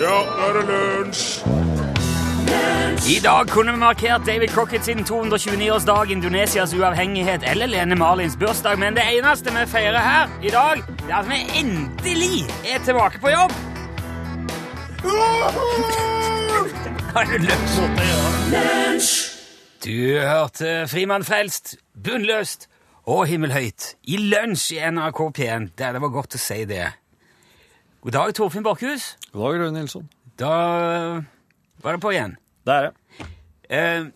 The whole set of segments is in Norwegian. Ja, nå er det lunsj! I dag kunne vi markert David Crockett sin 229-årsdag, Indonesias uavhengighet eller Lene Marlins bursdag, men det eneste vi feirer her i dag, det er at vi endelig er tilbake på jobb. Har du lyst? Du hørte Frimann frelst, bunnløst og himmelhøyt i lunsj i NRK P1. Det, det var godt å si det. God dag, Torfinn Borkhus. God dag, Rune Nilsson. Da var det på igjen. Det er det. Eh,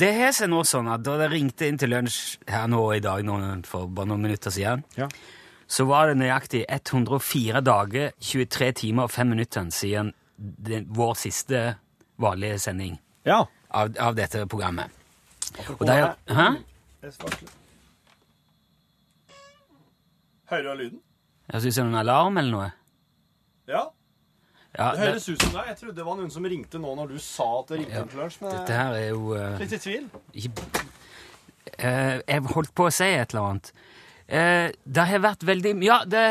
det har seg nå sånn at da det ringte inn til lunsj her nå i dag noen, for bare noen minutter siden, Ja. så var det nøyaktig 104 dager, 23 timer og 5 minutter siden den, vår siste vanlige sending Ja. av, av dette programmet. Og det er, hæ? Hører du lyden? Jeg synes det er noen alarm eller noe. Ja. Ja, Det det, høres ut som deg. Jeg trodde det var noen som ringte nå når du sa at det ringte Ja. inn til lunsj, men dette her er jo... eh, litt i tvil. ikke- eh, jeg holdt på å si et eller annet. Eh, det har vært veldig Ja, det,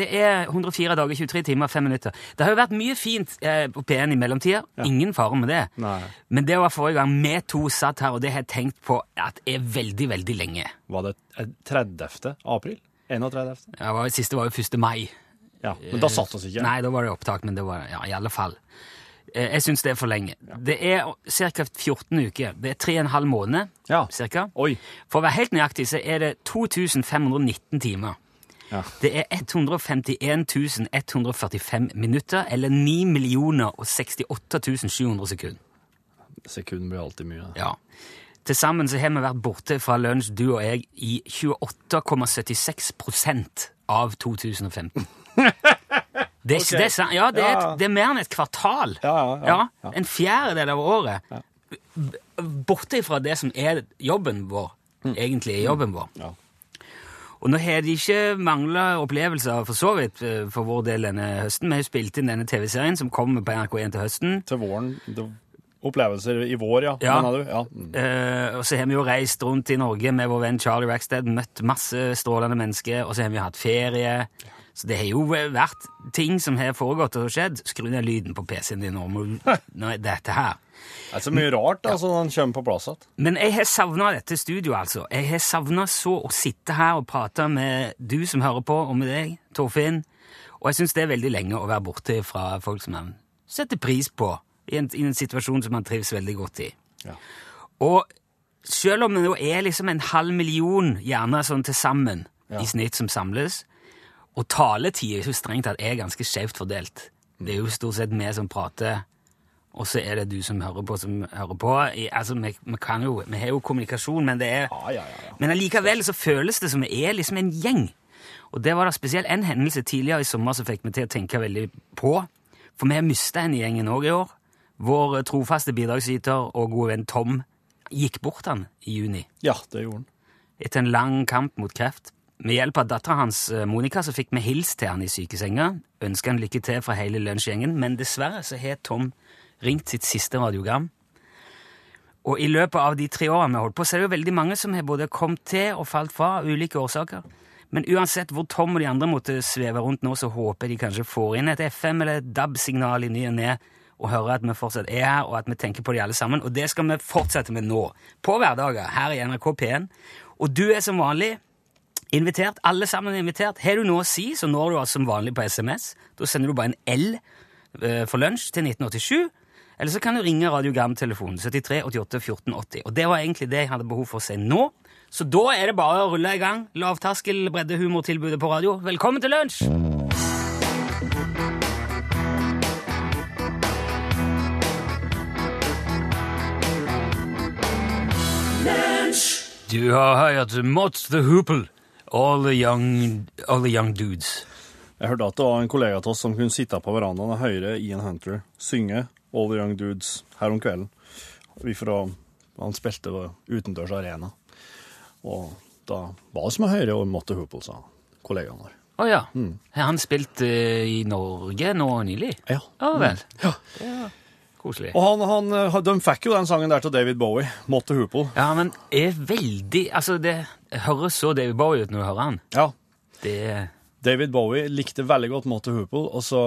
det er 104 dager, 23 timer, 5 minutter. Det har jo vært mye fint eh, på P1 i mellomtida. Ingen fare med det. Nei. Men det var forrige gang vi to satt her, og det har jeg tenkt på at er veldig, veldig lenge. Var det 30. april? 31. Det var, siste var jo 1. mai. Ja, men da satt oss ikke. Nei, da var det opptak, men det var ja, i alle fall. Eh, Jeg syns det er for lenge. Det er ca. 14 uker. Det er 3,5 måneder Ja. cirka. Oi. For å være helt nøyaktig så er det 2519 timer. Ja. Det er 151 145 minutter, eller 9 millioner og 68 700 sekunder. Sekunden blir alltid mye. Ja. Til sammen så har vi vært borte fra lunsj, du og jeg, i 28,76 av 2015. Det er, Ok. det er, sant- ja, det er, Ja, ja. et, det er mer enn et kvartal. Ja, ja, ja. Ja. En fjerdedel av året. B- Borte fra det som er jobben vår, Mm. egentlig er jobben vår. Ja. Og nå har de ikke mangla opplevelser, for så vidt, eh, for vår del denne høsten. Vi har jo spilt inn denne TV-serien som kommer på NRK1 til høsten. Til våren. Det, opplevelser i vår, ja. Ja. Mener du? Ja. Mm. Eh, og så har vi jo reist rundt i Norge med vår venn Charlie Rackstead, møtt masse strålende mennesker, og så har vi hatt ferie. Så det har jo vært ting som har foregått og skjedd. Skru ned lyden på PC-en din nå, må du- nå er dette her. Det er så mye rart da, som han kommer på plass igjen. Men jeg har savna dette studioet, altså. Jeg har savna så å sitte her og prate med du som hører på, og med deg, Torfinn. Og jeg syns det er veldig lenge å være borte fra folk som man setter pris på, i en, i en situasjon som man trives veldig godt i. Ja. Og selv om det nå er liksom en halv million hjerner sånn til sammen i snitt som samles, og taletid er jo strengt tatt er ganske skjevt fordelt. Det er jo stort sett vi som prater, og så er det du som hører på, som hører på. I, altså, vi, vi kan jo, vi har jo kommunikasjon, men det er... Ja, ja, ja, ja. Men allikevel så føles det som vi er liksom en gjeng. Og det var da spesielt en hendelse tidligere i sommer som fikk meg til å tenke veldig på. For vi har mista en i gjengen òg i år. Vår trofaste bidragsyter og gode venn Tom gikk bort han i juni Ja, det gjorde han. etter en lang kamp mot kreft. Med hjelp av dattera hans, eh, Monica, så fikk vi hils til han i sykesenga. Ønska han lykke til fra hele lunsjgjengen, men dessverre så har Tom ringt sitt siste radiogram. Og i løpet av de tre årene vi holdt på, så er det jo veldig mange som har både kommet til og falt fra av ulike årsaker. Men uansett hvor Tom og de andre måtte sveve rundt nå, så håper jeg de kanskje får inn et FM- eller et DAB-signal i ny og ne, og hører at vi fortsatt er her, og at vi tenker på de alle sammen. Og det skal vi fortsette med nå, på hverdager, her i NRK P1. Og du er som vanlig invitert. Alle sammen er invitert. Har du noe å si, så når du oss som vanlig på SMS. Da sender du bare en L eh, for lunsj til 1987. Eller så kan du ringe radiogramtelefonen 73 88 14 80. Og det var egentlig det jeg hadde behov for å si nå. Så da er det bare å rulle i gang. Lavterskel breddehumortilbudet på radio. Velkommen til lunsj! Du har hørt Mots the Hoople. All the young, all the young dudes. Jeg hørte at det var en kollega til oss som kunne sitte på verandaen og høre Ian Hunter synge All the Young Dudes her om kvelden. Vi fra, han spilte på utendørs arena. Og da var det som å høre og måtte hoppe, sa kollegaen vår. Å ja. Har han spilt eh, i Norge nå nylig? Ja. Ja vel. Ja. Eh, mm. Koselig. Og han, han, eh, de fikk jo den sangen der til David Bowie, Måtte Hoople. Ja, men er veldig Altså, det høres så David Bowie ut når du hører han. Ja. Det David Bowie likte veldig godt Motor Hoople, og så,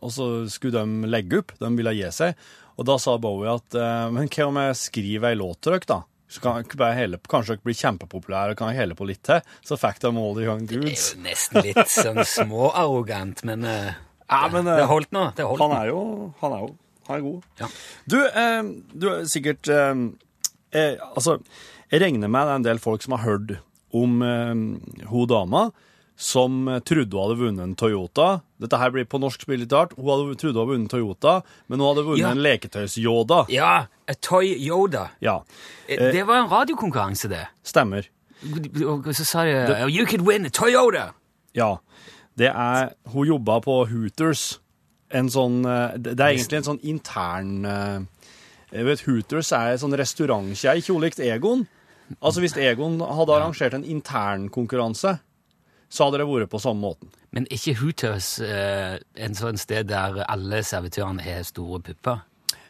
og så skulle de legge opp. De ville gi seg. Og da sa Bowie at eh, Men hva om jeg skriver ei låt til dere, da? Så kan dere bare hele på, Kanskje dere blir kjempepopulære og kan hele på litt til? Så fikk de All the Young Det Dudes. er jo nesten litt sånn småarrogant, men, eh, Ja, men, eh, det holdt nå. Det holdt Han nå. er jo Han er jo han er god. Ja. Du, eh, du er sikkert eh, eh, Altså, jeg regner med det er en del folk som har hørt om eh, hun dama som eh, trodde hun hadde vunnet en Toyota. Dette her blir på norsk spill litt rart. Hun hadde trodde hun hadde vunnet Toyota, men hun hadde vunnet Ja. en leketøys-Yoda. Ja, A Toy Yoda. Ja. Eh, Det var en radiokonkurranse, det. Stemmer. Og så sa de "Oh, You could win a Toyota! Ja. Det er Hun jobba på Hooters. En sånn eh, Det det er egentlig en sånn intern eh, Jeg vet, Hooters er en sånn restaurantkjei, ikke ulikt Egon. Altså, hvis Egon hadde arrangert en internkonkurranse, så hadde det vært på samme måten. Men ikke Hooters, eh, en sånn sted der alle servitørene har store pupper?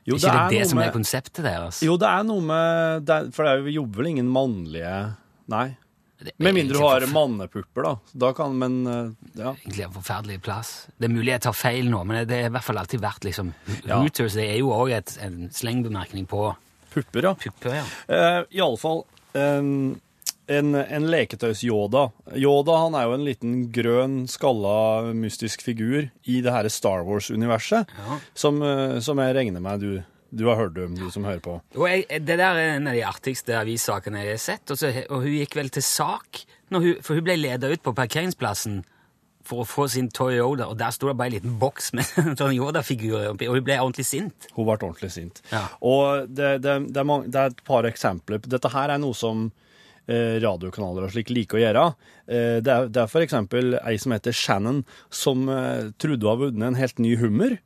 Jo, ikke det, det noe som med- er konseptet altså? deres? Jo, det er noe med det er, For det er jo- jobber vel ingen mannlige Nei. Det er Med mindre egentlig du har forf- mannepupper, da. Da kan Men eh, ja. Egentlig en forferdelig plass. Det er mulig jeg tar feil nå, men det har i hvert fall alltid vært liksom Ja. Hooters det er jo òg en slengbemerkning på Pupper, ja. pupper, ja. Uh, Iallfall um, en, en leketøys-Yoda. Yoda han er jo en liten grønn, skalla, mystisk figur i det her Star Wars-universet, Ja. som, eh, som jeg regner med du, du har hørt om, du som hører på. Og jeg, det der er en av de artigste avissakene jeg har sett. Og, så, og hun gikk vel til sak, når hun, for hun ble leda ut på parkeringsplassen for å få sin Toyota, og der sto det bare en liten boks med sånn Yoda-figurer oppi, og hun ble ordentlig sint. Hun ble ordentlig sint. Ja. Og det, det, det, er mange, det er et par eksempler. Dette her er noe som eh, radiokanaler og slik liker å gjøre. Eh, det, er, det er for eksempel ei som heter Shannon, som eh, trodde hun hadde vunnet en helt ny hummer.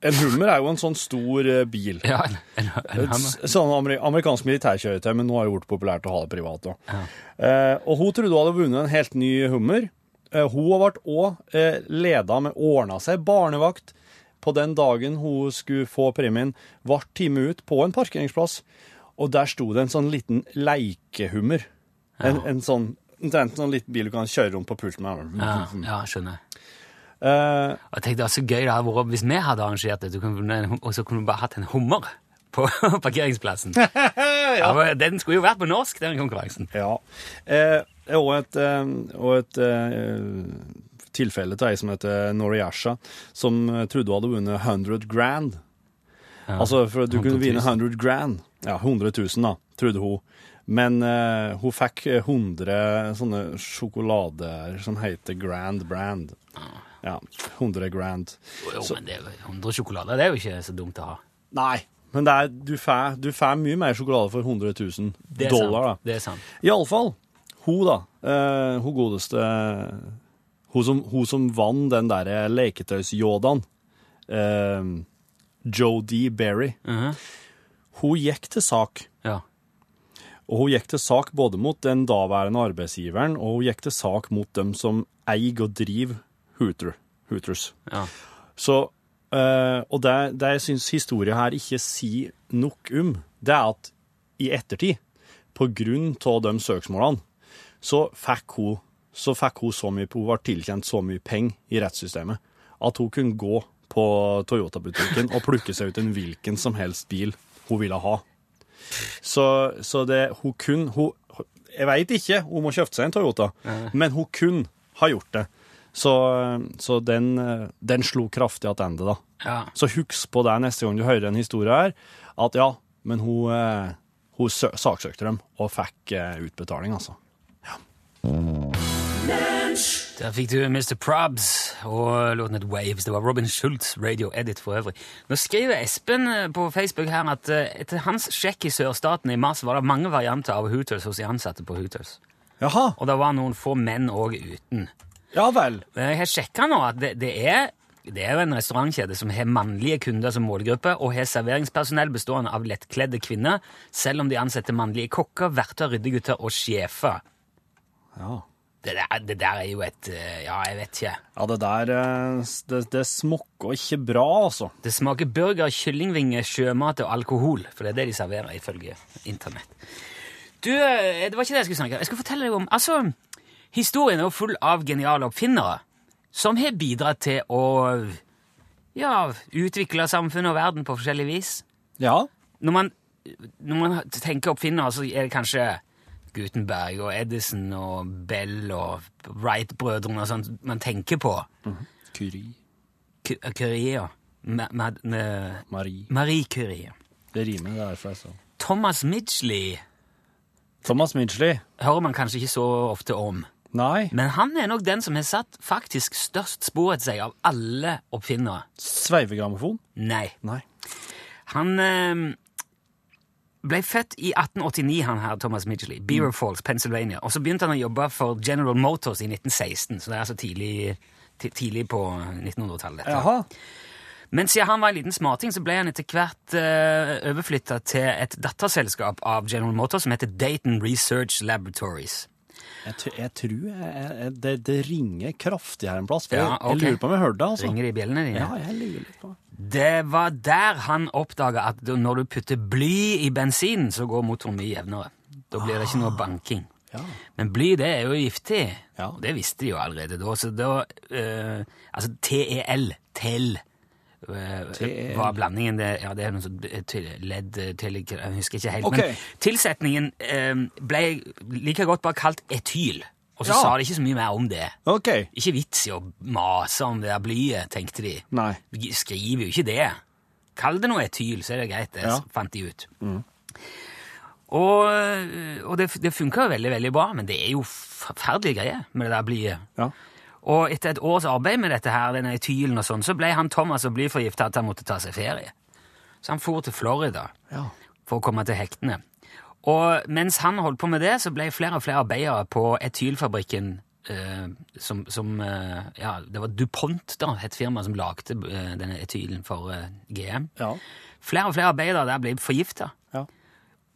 En hummer er jo en sånn stor eh, bil. Ja, en, en, en hammer. Et s- Sånn amer- amerikansk militærkjøretøy, men nå har det gjort populært å ha det privat. Da. Eh, og hun trodde hun hadde vunnet en helt ny hummer. Eh, hun ble òg eh, leda med ordna seg barnevakt. På den dagen hun skulle få premien, ble time ut på en parkeringsplass, og der sto det en sånn liten leikehummer. En, en sånn Omtrent en sånn liten bil du kan kjøre rundt på pulten med. Ja, ja, skjønner. Eh, Og jeg tenkte, så gøy det hadde vært hvis vi hadde arrangert det, du kunne, vunnet en hum- og så kunne du bare hatt en hummer på parkeringsplassen. ja. men Den skulle jo vært på norsk, den konkurransen. Ja. Eh, og et, eh, og et eh, tilfelle til ei som heter Noriyasha, som eh, trodde hun hadde vunnet 100 grand. altså, for at du 100 kunne 000. vinne 100 grand. Ja, 100 000, da, trodde hun. Men eh, hun fikk 100 sånne sjokolader som heter Grand Brand. Ja, 100 grand. Jo, men det er jo 100 sjokolader, det er jo ikke så dumt å ha. Nei, men det er, du får du får mye mer sjokolade for 100 000 Det er dollar, da. sant. Det er sant. Iallfall hun, da. Eh, hun godeste eh, hun som, hun som vann den derre leketøys-Yodaen. Eh, Jodie Berry. Mhm. Hun gikk til sak. Ja. Og hun gikk til sak både mot den daværende arbeidsgiveren, og hun gikk til sak mot dem som eier og driver Hooter, Hooters. ja. Så, eh, og det, det jeg syns historien her ikke sier nok om, det er at i ettertid, på grunn av de søksmålene, så fikk hun så fikk hun så mye, hun ble tilkjent så mye penger i rettssystemet at hun kunne gå på Toyota-butikken og plukke seg ut en hvilken som helst bil hun ville ha. Så, så det, hun kunne hun, Jeg veit ikke, hun må kjøpe seg en Toyota, men hun kunne ha gjort det. Så, så den, eh, den slo kraftig tilbake, da. Ja. Så husk på det neste gang du hører en historie her, at ja, men hun, eh, hun sø- saksøkte dem og fikk eh, utbetaling, altså. Der fikk du Mr. Probs og låten het Waves. Det var Robin Schultz, Radio Edit for øvrig. Nå skriver Espen eh, på Facebook her at eh, etter hans sjekk i sørstaten i mars var det mange varianter av Hooters hos de ansatte på Hooters. Jaha, Og det var noen få menn òg uten. ja vel. Men jeg har sjekka nå at det, det er det er jo en restaurantkjede som har mannlige kunder som målgruppe, og har serveringspersonell bestående av lettkledde kvinner, selv om de ansetter mannlige kokker, verktøy, ryddegutter og sjefer. Ja. Det der, det der er jo et eh, Ja, jeg vet ikke. Ja, det der eh, s- Det, det smokker ikke bra, altså. Det smaker burger, kyllingvinger, sjømat og alkohol. For det er det de serverer, ifølge internett. Du, eh, det var ikke det jeg skulle snakke om. Jeg skulle fortelle deg om Altså, historien er jo full av geniale oppfinnere. som har bidratt til å ja, utvikle samfunnet og verden på forskjellig vis. Ja. Når man, når man tenker oppfinnere, så er det kanskje Gutenberg og Edison og Bell og Wright-brødrene og sånt man tenker på. Curie. Cu- Curie, ja. Ma, ma, ne- Marie. Marie Curie. Det rimer, det er derfor jeg sa Thomas Midgley Thomas Midgley. hører man kanskje ikke så ofte om. Nei. Men han er nok den som har satt faktisk størst spor etter seg av alle oppfinnere. Sveivegrammofon? Nei. Nei. Han eh, ble født i 1889, han her, Thomas Midgley, Mm. Beaver Falls, Pennsylvania. Og så begynte han å jobbe for General Motors i 1916, så det er altså tidlig, ti- tidlig på 1900-tallet. dette. Jaha. Men siden han var en liten smarting, så ble han etter hvert uh, overflytta til et datterselskap av General Motors som heter Dayton Research Laboratories. Jeg, tr- jeg tror jeg, jeg, det, det ringer kraftig her en plass. For Ja, ok. Jeg lurer på om jeg hørte det, altså. Ringer de bjellene dine? Ja, jeg lurer litt på det. Det var der han oppdaga at du- når du putter bly i bensinen, så går motoren mye jevnere. Da blir det ikke noe banking. Ah. Ja. Men bly, det er jo giftig. Ja. Og det visste de jo allerede da. Så da eh, Altså TEL, TEL, E eh, TEL. var blandingen det Ja, det er noe sånt eh, til- ledd eh, til Jeg husker ikke helt. Ok. Men tilsetningen eh, ble like godt bare kalt etyl. Og så Ja. sa de ikke så mye mer om det. OK. Ikke vits i å mase om det der blyet, tenkte de. Nei. Vi skriver jo ikke det. Kall det noe etyl, så er det greit. Det Ja. fant de ut. Og, og det, det funka jo veldig, veldig bra, men det er jo forferdelige greier med det der blyet. Ja. Og etter et års arbeid med dette her, denne etylen og sånn, så ble han Thomas så blyforgifta at han måtte ta seg ferie. Så han for til Florida Ja. for å komme til hektene. Og mens han holdt på med det, så ble flere og flere arbeidere på etylfabrikken eh, som, som eh, Ja, det var DuPont, da, het firmaet som lagde eh, denne etylen for eh, GM. Ja. Flere og flere arbeidere der ble forgifta. Ja.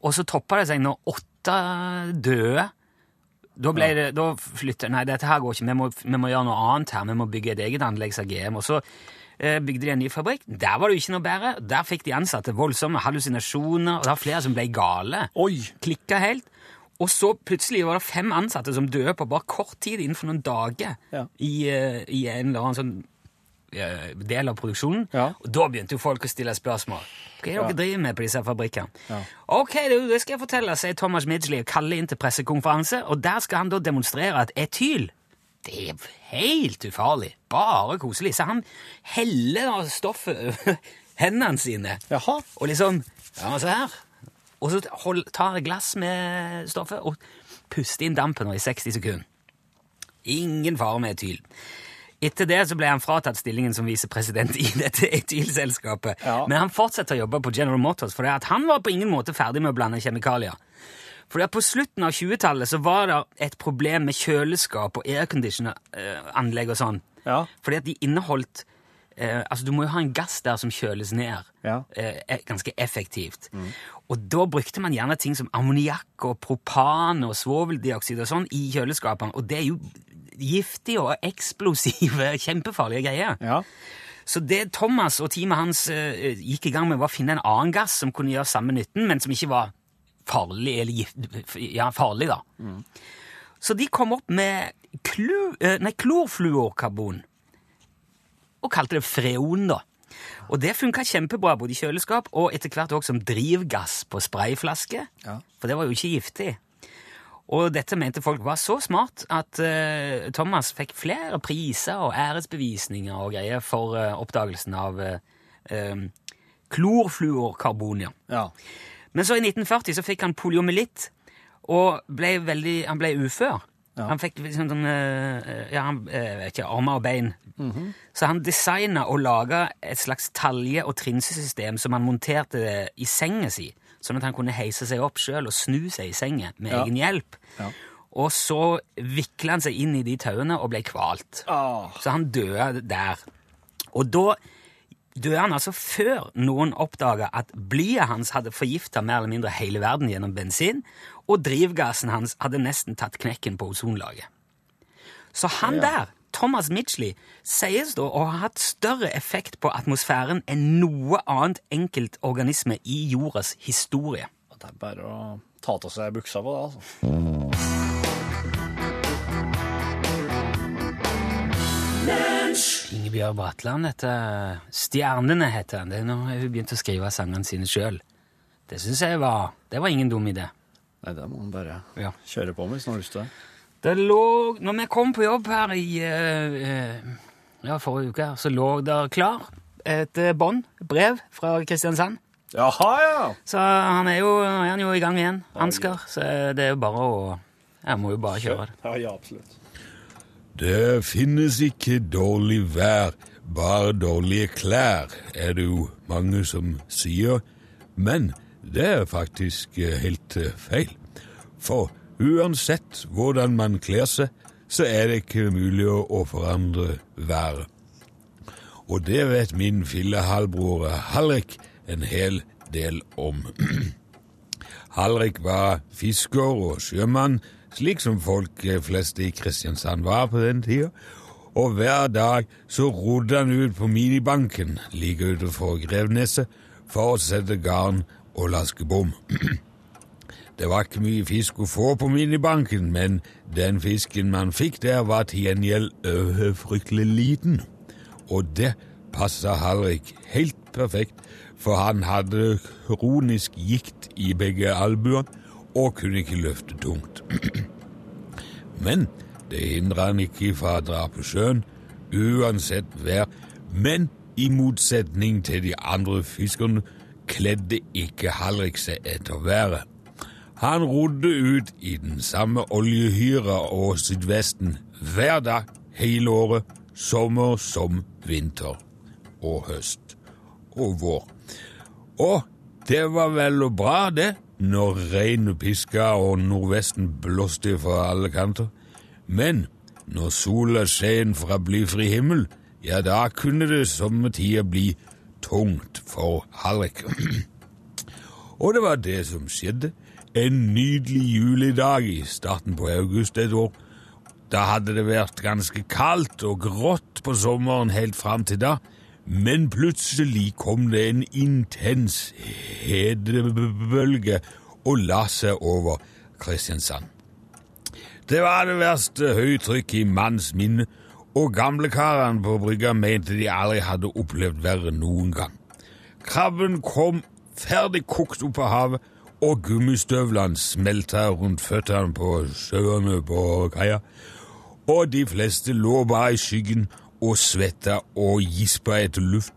Og så toppa det seg når åtte døde. Da ble det, da flyttet, nei, dette her går ikke, vi må, vi må gjøre noe annet her, vi må bygge et eget anlegg, sa GM. Og så eh, bygde de en ny fabrikk. Der var det jo ikke noe bedre. Der fikk de ansatte voldsomme hallusinasjoner, og det var flere som ble gale. Oi. Klikka helt. Og så plutselig var det fem ansatte som døde på bare kort tid innenfor noen dager Ja. i, eh, i en eller annen sånn eh, del av produksjonen. Ja. Og da begynte jo folk å stille spørsmål. Hva er det dere driver med på disse fabrikkene? Ja. Ok, du, det skal jeg fortelle, sier Thomas Midgley og kaller inn til pressekonferanse, og der skal han da demonstrere at etyl det er helt ufarlig, bare koselig. Så han heller da stoffet over hendene sine, Jaha. og liksom Ja, se her. Og så hold, tar jeg glass med stoffet og puster inn dampen nå i 60 sekunder. Ingen fare med etyl. Etter det så ble han fratatt stillingen som visepresident i dette etylselskapet. Ja. Men han fortsatte å jobbe på General Motors, for han var på ingen måte ferdig med å blande kjemikalier. For på slutten av 20-tallet så var det et problem med kjøleskap og airconditioner-anlegg og sånn. Ja. Fordi at de inneholdt eh, Altså, du må jo ha en gass der som kjøles ned Ja. eh, eh, ganske effektivt. Og da brukte man gjerne ting som ammoniakk og propan og svoveldioksid og sånn i kjøleskapene, og det er jo giftige og eksplosive, kjempefarlige greier. Ja. Så det Thomas og teamet hans eh, gikk i gang med, var å finne en annen gass som kunne gjøre samme nytten, men som ikke var farlig, eller gift, ja, farlig da. Så de kom opp med klu, eh, nei, klorfluorkarbon, og kalte det freon da. Og det funket kjempebra både i kjøleskap, og etter hvert også som drivgass på sprayflaske, Ja. for det var jo ikke giftig. Og dette mente folk var så smart at eh, Thomas fikk flere priser og æresbevisninger og greier for eh, oppdagelsen av eh, eh, klorfluorkarbon. ja. Ja. Men så i 1940 så fikk han poliomyelitt og ble veldig, han ble ufør. Ja. Han fikk liksom sånn, eh, ja, han, eh, jeg vet ikke, armer og bein. Mhm. Så han designa og laga et slags talje- og trinsesystem som han monterte i senga si, sånn at han kunne heise seg opp sjøl og snu seg i senga med Ja. egen hjelp. Ja. Og så vikla han seg inn i de tauene og ble kvalt. Ah. Så han døde der. Og da døde han altså før noen oppdaga at blyet hans hadde forgifta mer eller mindre hele verden gjennom bensin, og drivgassen hans hadde nesten tatt knekken på ozonlaget. Så han der, Thomas Mitchley, sies da å ha hatt større effekt på atmosfæren enn noe annet enkeltorganisme i jordas historie. Det er bare å ta av seg buksa på det, altså. Ingebjørg Bratland heter Stjernene heter han. Det er nå hun begynte å skrive sangene sine sjøl. Det syns jeg var Det var ingen dum idé. Nei, det må man bare Ja. kjøre på med hvis man har lyst til det. Det lå Når vi kom på jobb her i eh, eh, ja, forrige uke, her, så lå der klar et eh, bånd, brev, fra Kristiansand. Jaha, ja! Så han er jo, nå er han jo i gang igjen, Ansgar. Så det er jo bare å Jeg må jo bare kjøre det. Ja, ja, absolutt. Det finnes ikke dårlig vær, bare dårlige klær, er det jo mange som sier. Men det er faktisk eh, helt eh, feil. For uansett hvordan man kler seg, så er det ikke mulig å å forandre været. Og det vet min fillehalvbror Halrik en hel del om. Halrik var fisker og sjømann, slik som folk eh, flest i Kristiansand var på den tida. Og hver dag så rodde han ut på minibanken like utenfor Grevneset for å sette garn og laske bom. Det var ikke mye fisk å få på minibanken, men den fisken man fikk der, var til gjengjeld øh, fryktelig liten. Og det passa Halrik helt perfekt, for han hadde kronisk gikt i begge albuene og kunne ikke løfte tungt. Men det hindra han ikke fra å dra på sjøen, uansett vær. Men i motsetning til de andre fiskerne kledde ikke Halrik seg etter været. Han rodde ut i den samme oljehyra og sydvesten hver dag hele året, sommer som vinter og høst og vår. Og det var vel og bra, det, når regnet piska og nordvesten blåste fra alle kanter. Men når sola skein fra blyfri himmel, ja, da kunne det sommertida bli tungt for Hallik. Og det var det som skjedde. En nydelig juledag i starten på august et år. Da hadde det vært ganske kaldt og grått på sommeren helt fram til da. Men plutselig kom det en intens hedebølge og la seg over Kristiansand. Det var det verste høytrykk i manns minne, og gamlekarene på brygga mente de aldri hadde opplevd verre noen gang. Krabben kom ferdig kokt opp av havet, og gummistøvlene smelta rundt føttene på sjøene på kaia. Og de fleste lå bare i skyggen og svetta og gispa etter luft.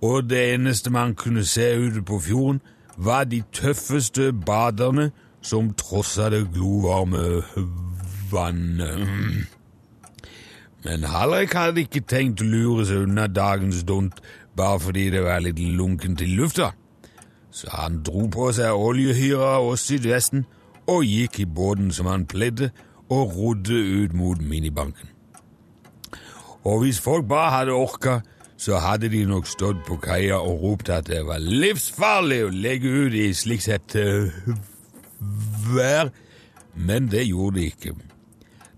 Og det eneste man kunne se ute på fjorden, var de tøffeste baderne som trossa det glovarme vannet. Men Hallrik hadde ikke tenkt å lure seg unna dagens dunt bare fordi det var litt lunkent i lufta. Så han dro på seg oljehyra og sydvesten og gikk i båten som han pleide, og rodde ut mot minibanken. Og hvis folk bare hadde orka, så hadde de nok stått på kaia og ropt at det var livsfarlig å legge ut i slikt sett eh, vær, men det gjorde de ikke.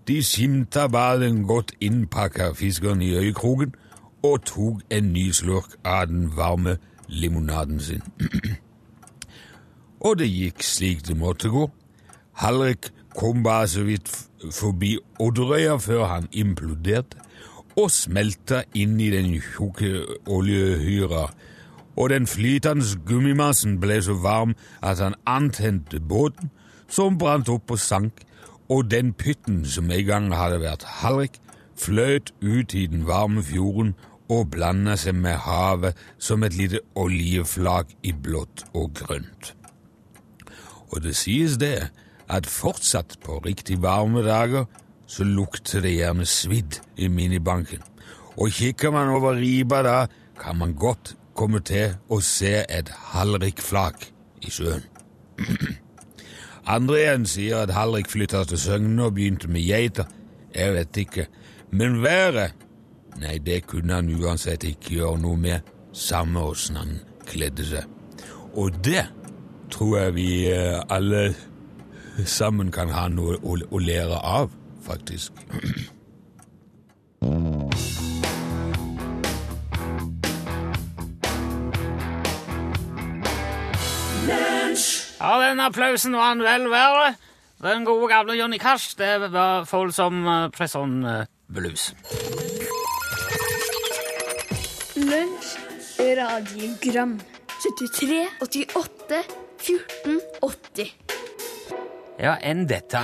De skimta bare den godt innpakka fiskeren i øyekroken og tok en ny slurk av den varme limonaden sin. og det gikk slik det måtte gå. Halrik kom bare så vidt f- forbi Odderøya før han imploderte og smelta inn i den tjukke oljehyra. Og den flytende gummimassen ble så varm at han antente båten, som brant opp og sank, og den pytten som en gang hadde vært Halrik, fløt ut i den varme fjorden og blanda seg med havet som et lite oljeflak i blått og grønt. Og det sies det at fortsatt på riktig varme dager så lukter det gjerne svidd i minibanken. Og kikker man over riba da, kan man godt komme til å se et halvrikflak i sjøen. Andre igjen sier at Halrik flytta til Søgne og begynte med geiter. Jeg vet ikke. Men været Nei, det kunne han uansett ikke gjøre noe med, samme åssen han kledde seg. Og det tror jeg vi eh, alle sammen kan ha noe å, å lære av, faktisk. Ja, den applausen var han vel verd. Den gode gamle Johnny Cash, det var folk som eh, Presson eh, Blues. Lunsj, radiogram 73, 88, 14, 80 Ja, enn dette.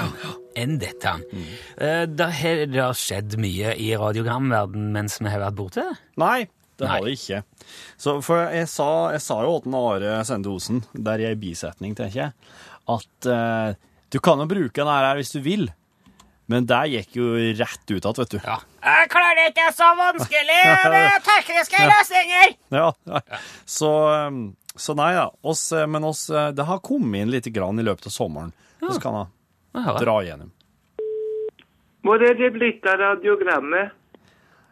Enn dette. Mm. Eh, der har det har skjedd mye i radiogramverden mens vi har vært borte. Nei, det har Nei. det ikke. Så, for jeg sa, jeg sa jo til Are Sende Osen, der i ei bisetning, tenker jeg, at eh, du kan jo bruke den her hvis du vil. Men der gikk jo rett ut igjen, vet du. Ja. Jeg Eh, klarer ikke så vanskelige eh, tekniske løsninger! Ja, ja. Så, um, så nei da. Oss, eh, men oss, eh, det har kommet inn lite grann i løpet av sommeren. Så kan jeg Hva hører jeg? dra gjennom. Hvor er det blitt av radiogrammet?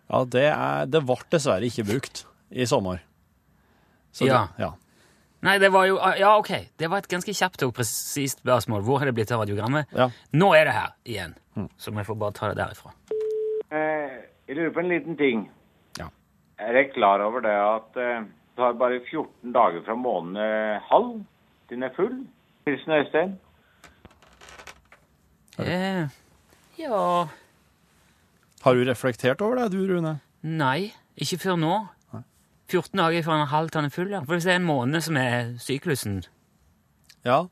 Ja, det, er, det ble dessverre ikke brukt i sommer. Så Ja. Det, ja. Nei, det var jo ah, Ja, OK. Det var et ganske kjapt og presist spørsmål. Hvor har det blitt av radiogrammet? Ja. Mm. Nå er det her igjen, så vi får bare ta det derifra. Eh, jeg lurer på en liten ting. Ja. Er dere klar over det at eh, det tar bare 14 dager fra måneden eh, halv til den er full? Hilsen Øystein. Eh, ja Har du reflektert over det, du, Rune? Nei, ikke før nå. 14 dager fra en halv til den er full, ja. For hvis det er en måned som er syklusen Ja.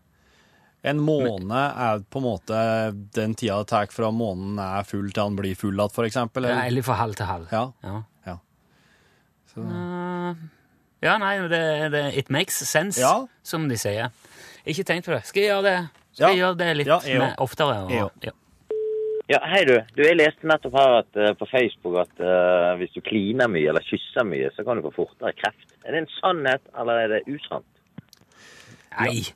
En måned er på en måte den tida det tar fra måneden er full til han blir full igjen, for eksempel. ja, eller- Eller fra halv til halv. Ja. Ja, Ja. Så, Eh, ja nei, det, det, it makes sense, Ja. som de sier. Ikke tenkt på det. Skal jeg gjøre det, skal jeg Ja. gjøre det litt Ja, jeg mer, òg. oftere? og- Jeg òg. ja. Ja, hei du. Du, Jeg leste nettopp her at, eh, på Facebook at eh, hvis du kliner mye eller kysser mye, så kan du få fortere kreft. Er det en sannhet, eller er det usant? Nei,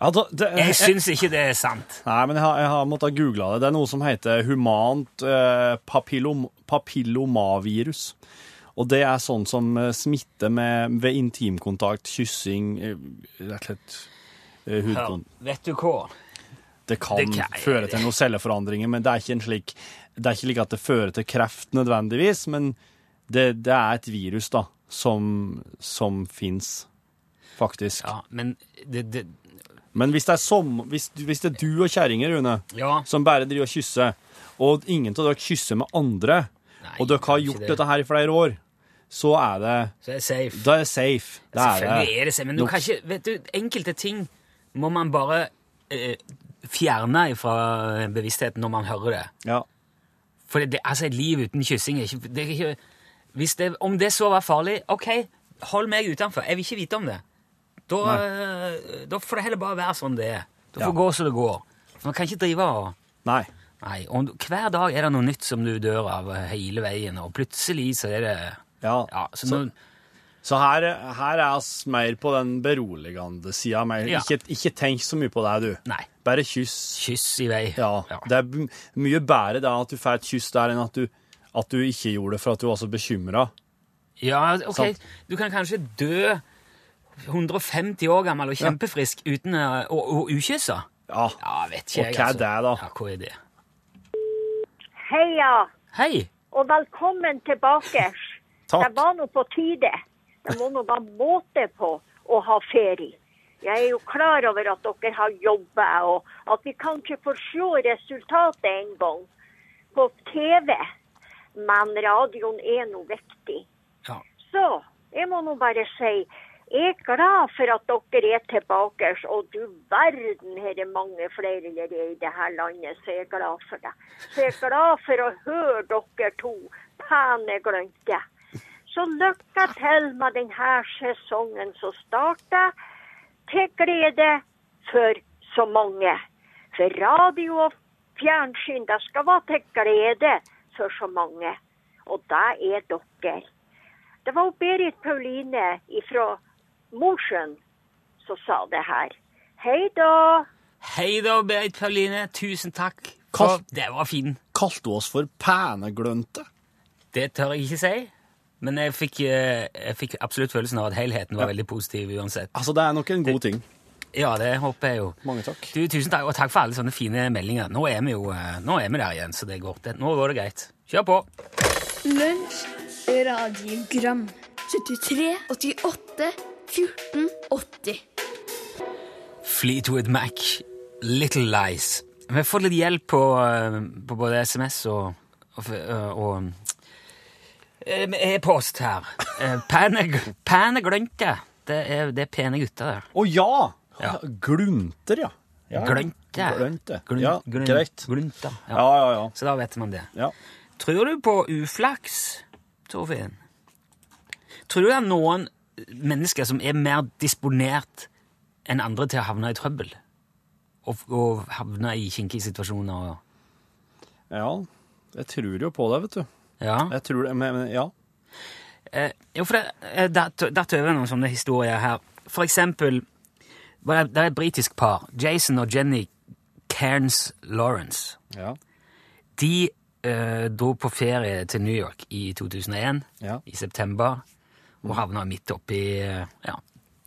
ja, da, det, jeg syns ikke det er sant. Nei, men jeg har, jeg har måttet google det. Det er noe som heter humant eh, papillom, papillomavirus. Og det er sånn som eh, smitter med, ved intimkontakt, kyssing, eh, rett og slett eh, Hør, hudkontakt. vet du hva? Det kan, Det kan- føre til noen celleforandringer, men det er ikke en slik Det er ikke like at det fører til kreft nødvendigvis, men det, det er et virus, da, som, som fins, faktisk. Ja, men det, det Men hvis det er som Hvis, hvis det er du og kjerringer, Rune, Ja. som bare driver og kysser, og ingen av dere kysser med andre, Nei, og dere har kanskje gjort det. dette her i flere år, så er det Så er det safe. Da er det safe. Da Selvfølgelig er det safe, men du nok- kan ikke Vet du, enkelte ting må man bare eh, fjerne fra bevisstheten når man hører det. Ja. For det, det- altså, et liv uten kyssing er ikke, det er ikke hvis det, Om det så var farlig, OK, hold meg utenfor. Jeg vil ikke vite om det. Da, eh, da får det heller bare være sånn det er. Da får Ja. det gå som det går. For Man kan ikke drive og Nei. Nei. Og du- hver dag er det noe nytt som du dør av eh, hele veien, og plutselig så er det Ja. Ja, så, Så- nå- Så her, her er oss mer på den beroligende sida. Ja. Ikke, ikke tenk så mye på det, du. Nei. Bare kyss. Kyss i vei. Ja. Det er b- mye bedre da at du får et kyss der, enn at du, at du ikke gjorde det for at du var så bekymra. Ja, ok. Sant. Du kan kanskje dø 150 år gammel og kjempefrisk uten å, å, å ukysse. Ja. Ja, vet ikke Og jeg, altså. hva er det da? Ja, hva er det? Heia, Hei! og velkommen tilbake. Det Takk. var nå på tide. Det må nå være måte på å ha ferie. Jeg er jo klar over at dere har jobba, og at vi kan ikke få se resultatet en gang på TV. Men radioen er nå viktig. Ja. Så jeg må nå bare si jeg er glad for at dere er tilbake, og du verden her er mange flere enn det er i det her landet, så jeg er glad for det. Så jeg er glad for å høre dere to pene glønte. Så lykke til med denne sesongen som starter, til glede for så mange. For radio og fjernsyn, det skal være til glede for så mange. Og det er dere. Det var jo Berit Pauline fra Mosjøen som sa det her. Hei da! Hei da, Berit Pauline. Tusen takk. Hva- For, det var fin. Kalte du oss for pæneglønte? Det tør jeg ikke si. Men jeg fikk, eh, jeg fikk absolutt følelsen av at helheten var veldig positiv uansett. Altså, det er nok en god ting. Ja, det håper jeg jo. Mange takk. Du, tusen takk, og takk for alle sånne fine meldinger. Nå er vi jo eh, nå er vi der igjen, så det går, det, nå går det greit. Kjør på! Lunsj, radiogram 73, 88, 14, 80 Fleetwood Mac, Little Lies. Vi har fått litt hjelp på, eh, på både SMS og, og, f- eh, og Eh, med E-post her. Eh, Pene, pene glønte. Det er, det er pene gutter der. Å ja! Ja. Glunter, ja. ja. Glønte. Glønte. Glun- ja, glun- greit. Glunta. Ja. Ja, ja, ja. Så da vet man det. ja. Tror du på uflaks, Torfinn? Tror du det er noen mennesker som er mer disponert enn andre til å havne i trøbbel? Og, og havne i kinkige situasjoner? Og, Ja, jeg tror jo på det, vet du. ja. Jeg tror det, men, men ja. Eh, jo, for det, eh, der, tø- der tøver noen sånne historier her. For eksempel, var det, det er et britisk par, Jason og Jenny Cairns Lawrence. Ja. De eh, dro på ferie til New York i 2001, Ja. i september, og havna midt oppi eh, ja,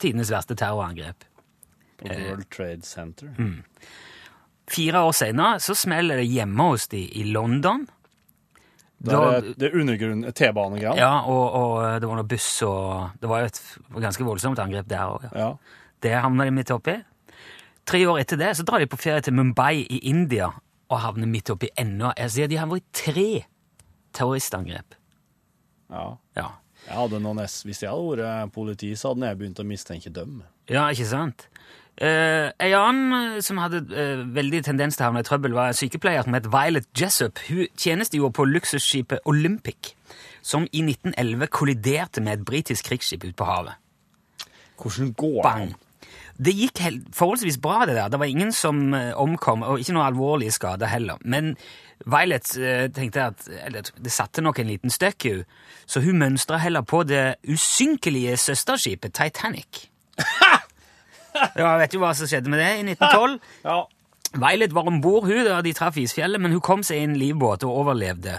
tidenes verste terrorangrep. På World Trade Center. Fire år senere så smeller det hjemme hos de i London. Det Da- er det- det er undergrunn... T-banegreia. ja, og, og eh, det var noe buss, og det var jo et ganske voldsomt angrep der òg. Ja. ja. Det havner de midt oppi. Tre år etter det så drar de på ferie til Mumbai i India og havner midt oppi ennå. Jeg sier de har vært i tre terroristangrep. Ja. Ja. Jeg hadde noen S. Hvis jeg hadde vært politi, så hadde jeg begynt å mistenke dem. ja, ikke sant? Eh, en annen eh, som hadde eh, veldig tendens til å havne i trøbbel, var en sykepleier som het Violet Jessup. Hun tjenestegjorde på luksusskipet Olympic, som i 1911 kolliderte med et britisk krigsskip ute på havet. Hvordan går Bang! det? Det gikk hel- forholdsvis bra, det der. Det var ingen som eh, omkom, og ikke noe alvorlige skader heller. Men Violet eh, tenkte at eller, det satte nok en liten støkk i henne, så hun mønstra heller på det usynkelige søsterskipet Titanic. Ja, vet du hva som skjedde med det i 1912? Ja. Violet var om bord hun da de traff isfjellet, men hun kom seg i en livbåt og overlevde.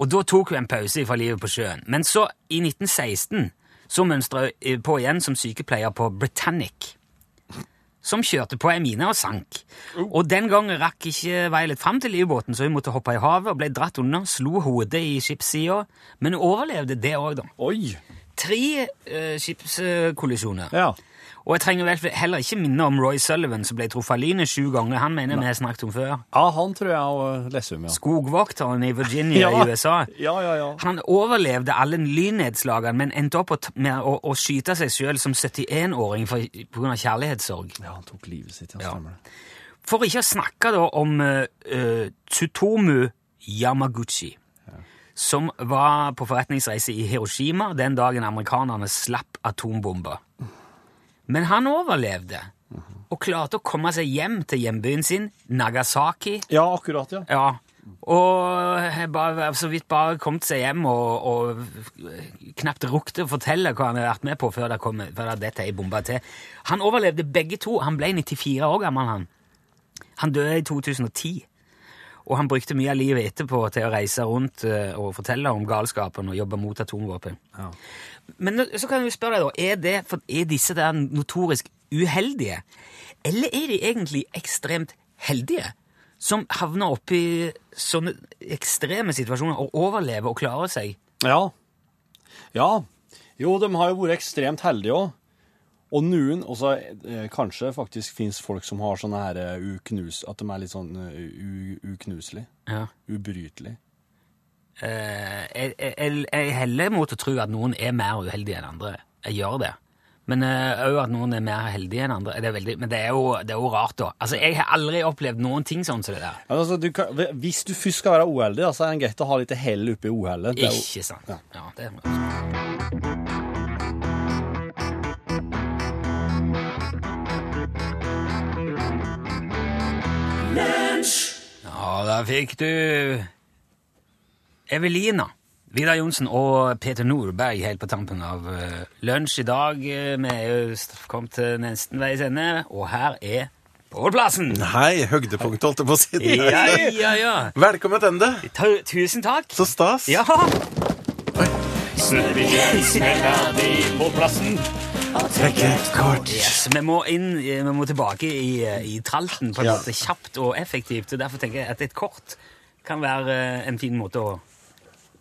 Og da tok hun en pause fra livet på sjøen. Men så, i 1916, så mønstra hun eh, på igjen som sykepleier på Britannic. Som kjørte på ei mine og sank. Og den gangen rakk ikke Violet fram til livbåten, så hun måtte hoppe i havet og ble dratt under. Slo hodet i skipssida, men hun overlevde det òg, da. Oi! Tre eh, skipskollisjoner. Ja. Og jeg trenger vel heller ikke minne om Roy Sullivan, som ble truffet av lynet sju ganger. Han mener vi har snakket om før. ja, han tror jeg og leser om, ja. Skogvokteren i Virginia Ja. i USA. Ja, ja, ja. Han overlevde alle lynnedslagene, men endte opp å t- med å, å skyte seg sjøl som 71-åring pga. kjærlighetssorg. Ja, Han tok livet sitt, ja. Stemmer det. For ikke å snakke da om eh, eh, Tsutomu Yamaguchi, som var på forretningsreise i Hiroshima den dagen amerikanerne slapp atombomber. Men han overlevde, og klarte å komme seg hjem til hjembyen sin, Nagasaki. Ja, akkurat, ja. Ja, og jeg bare, så vidt bare kommet seg hjem og, og knapt rukte å fortelle hva han hadde vært med på før det, kom, før det dette ei bomba til. Han overlevde begge to. Han ble 94 år gammel, han. Han døde i 2010. Og han brukte mye av livet etterpå til å reise rundt eh, og fortelle om galskapen og jobbe mot atomvåpen. Men nå- så kan jeg jo spørre deg, da. Er, det, for, er disse der notorisk uheldige? Eller er de egentlig ekstremt heldige? Som havner oppi sånne ekstreme situasjoner og overlever og klarer seg? Ja. ja. Jo, de har jo vært ekstremt heldige òg. Og noen Og så eh, kanskje faktisk fins folk som har sånne her eh, uknus... At de er litt sånn eh, u, uknuselig. Ja. Ubrytelig. Eh, jeg, jeg, jeg heller mot å tro at noen er mer uheldige enn andre. Jeg gjør det. Men òg at noen er mer heldige enn andre. Det er veldig, men det er, jo, det er jo rart, da. Altså, Jeg har aldri opplevd noen ting sånn som det der. Ja, Altså, du kan, hvis du først skal være uheldig, da, så er det greit å ha litt hell oppi uhellet. Det er jo- Ikke sant. Ja. Ja, det er Ja, der fikk du Evelina. Vidar Johnsen og Peter Nordberg helt på tampen av eh, lunsj i dag. Eh, Vi er jo st- kommet til nesten veis ende, og her er Pål Plassen! Hei, høydepunkt, holdt jeg på å si. Ja, ja, ja. Velkommen til ende. Ta, tusen takk. Så stas. Ja! Trekk et kort. Yes, vi må, inn, vi må tilbake i, eh, i tralten på en Ja. måte kjapt og effektivt. og Derfor tenker jeg at et kort kan være eh, en fin måte å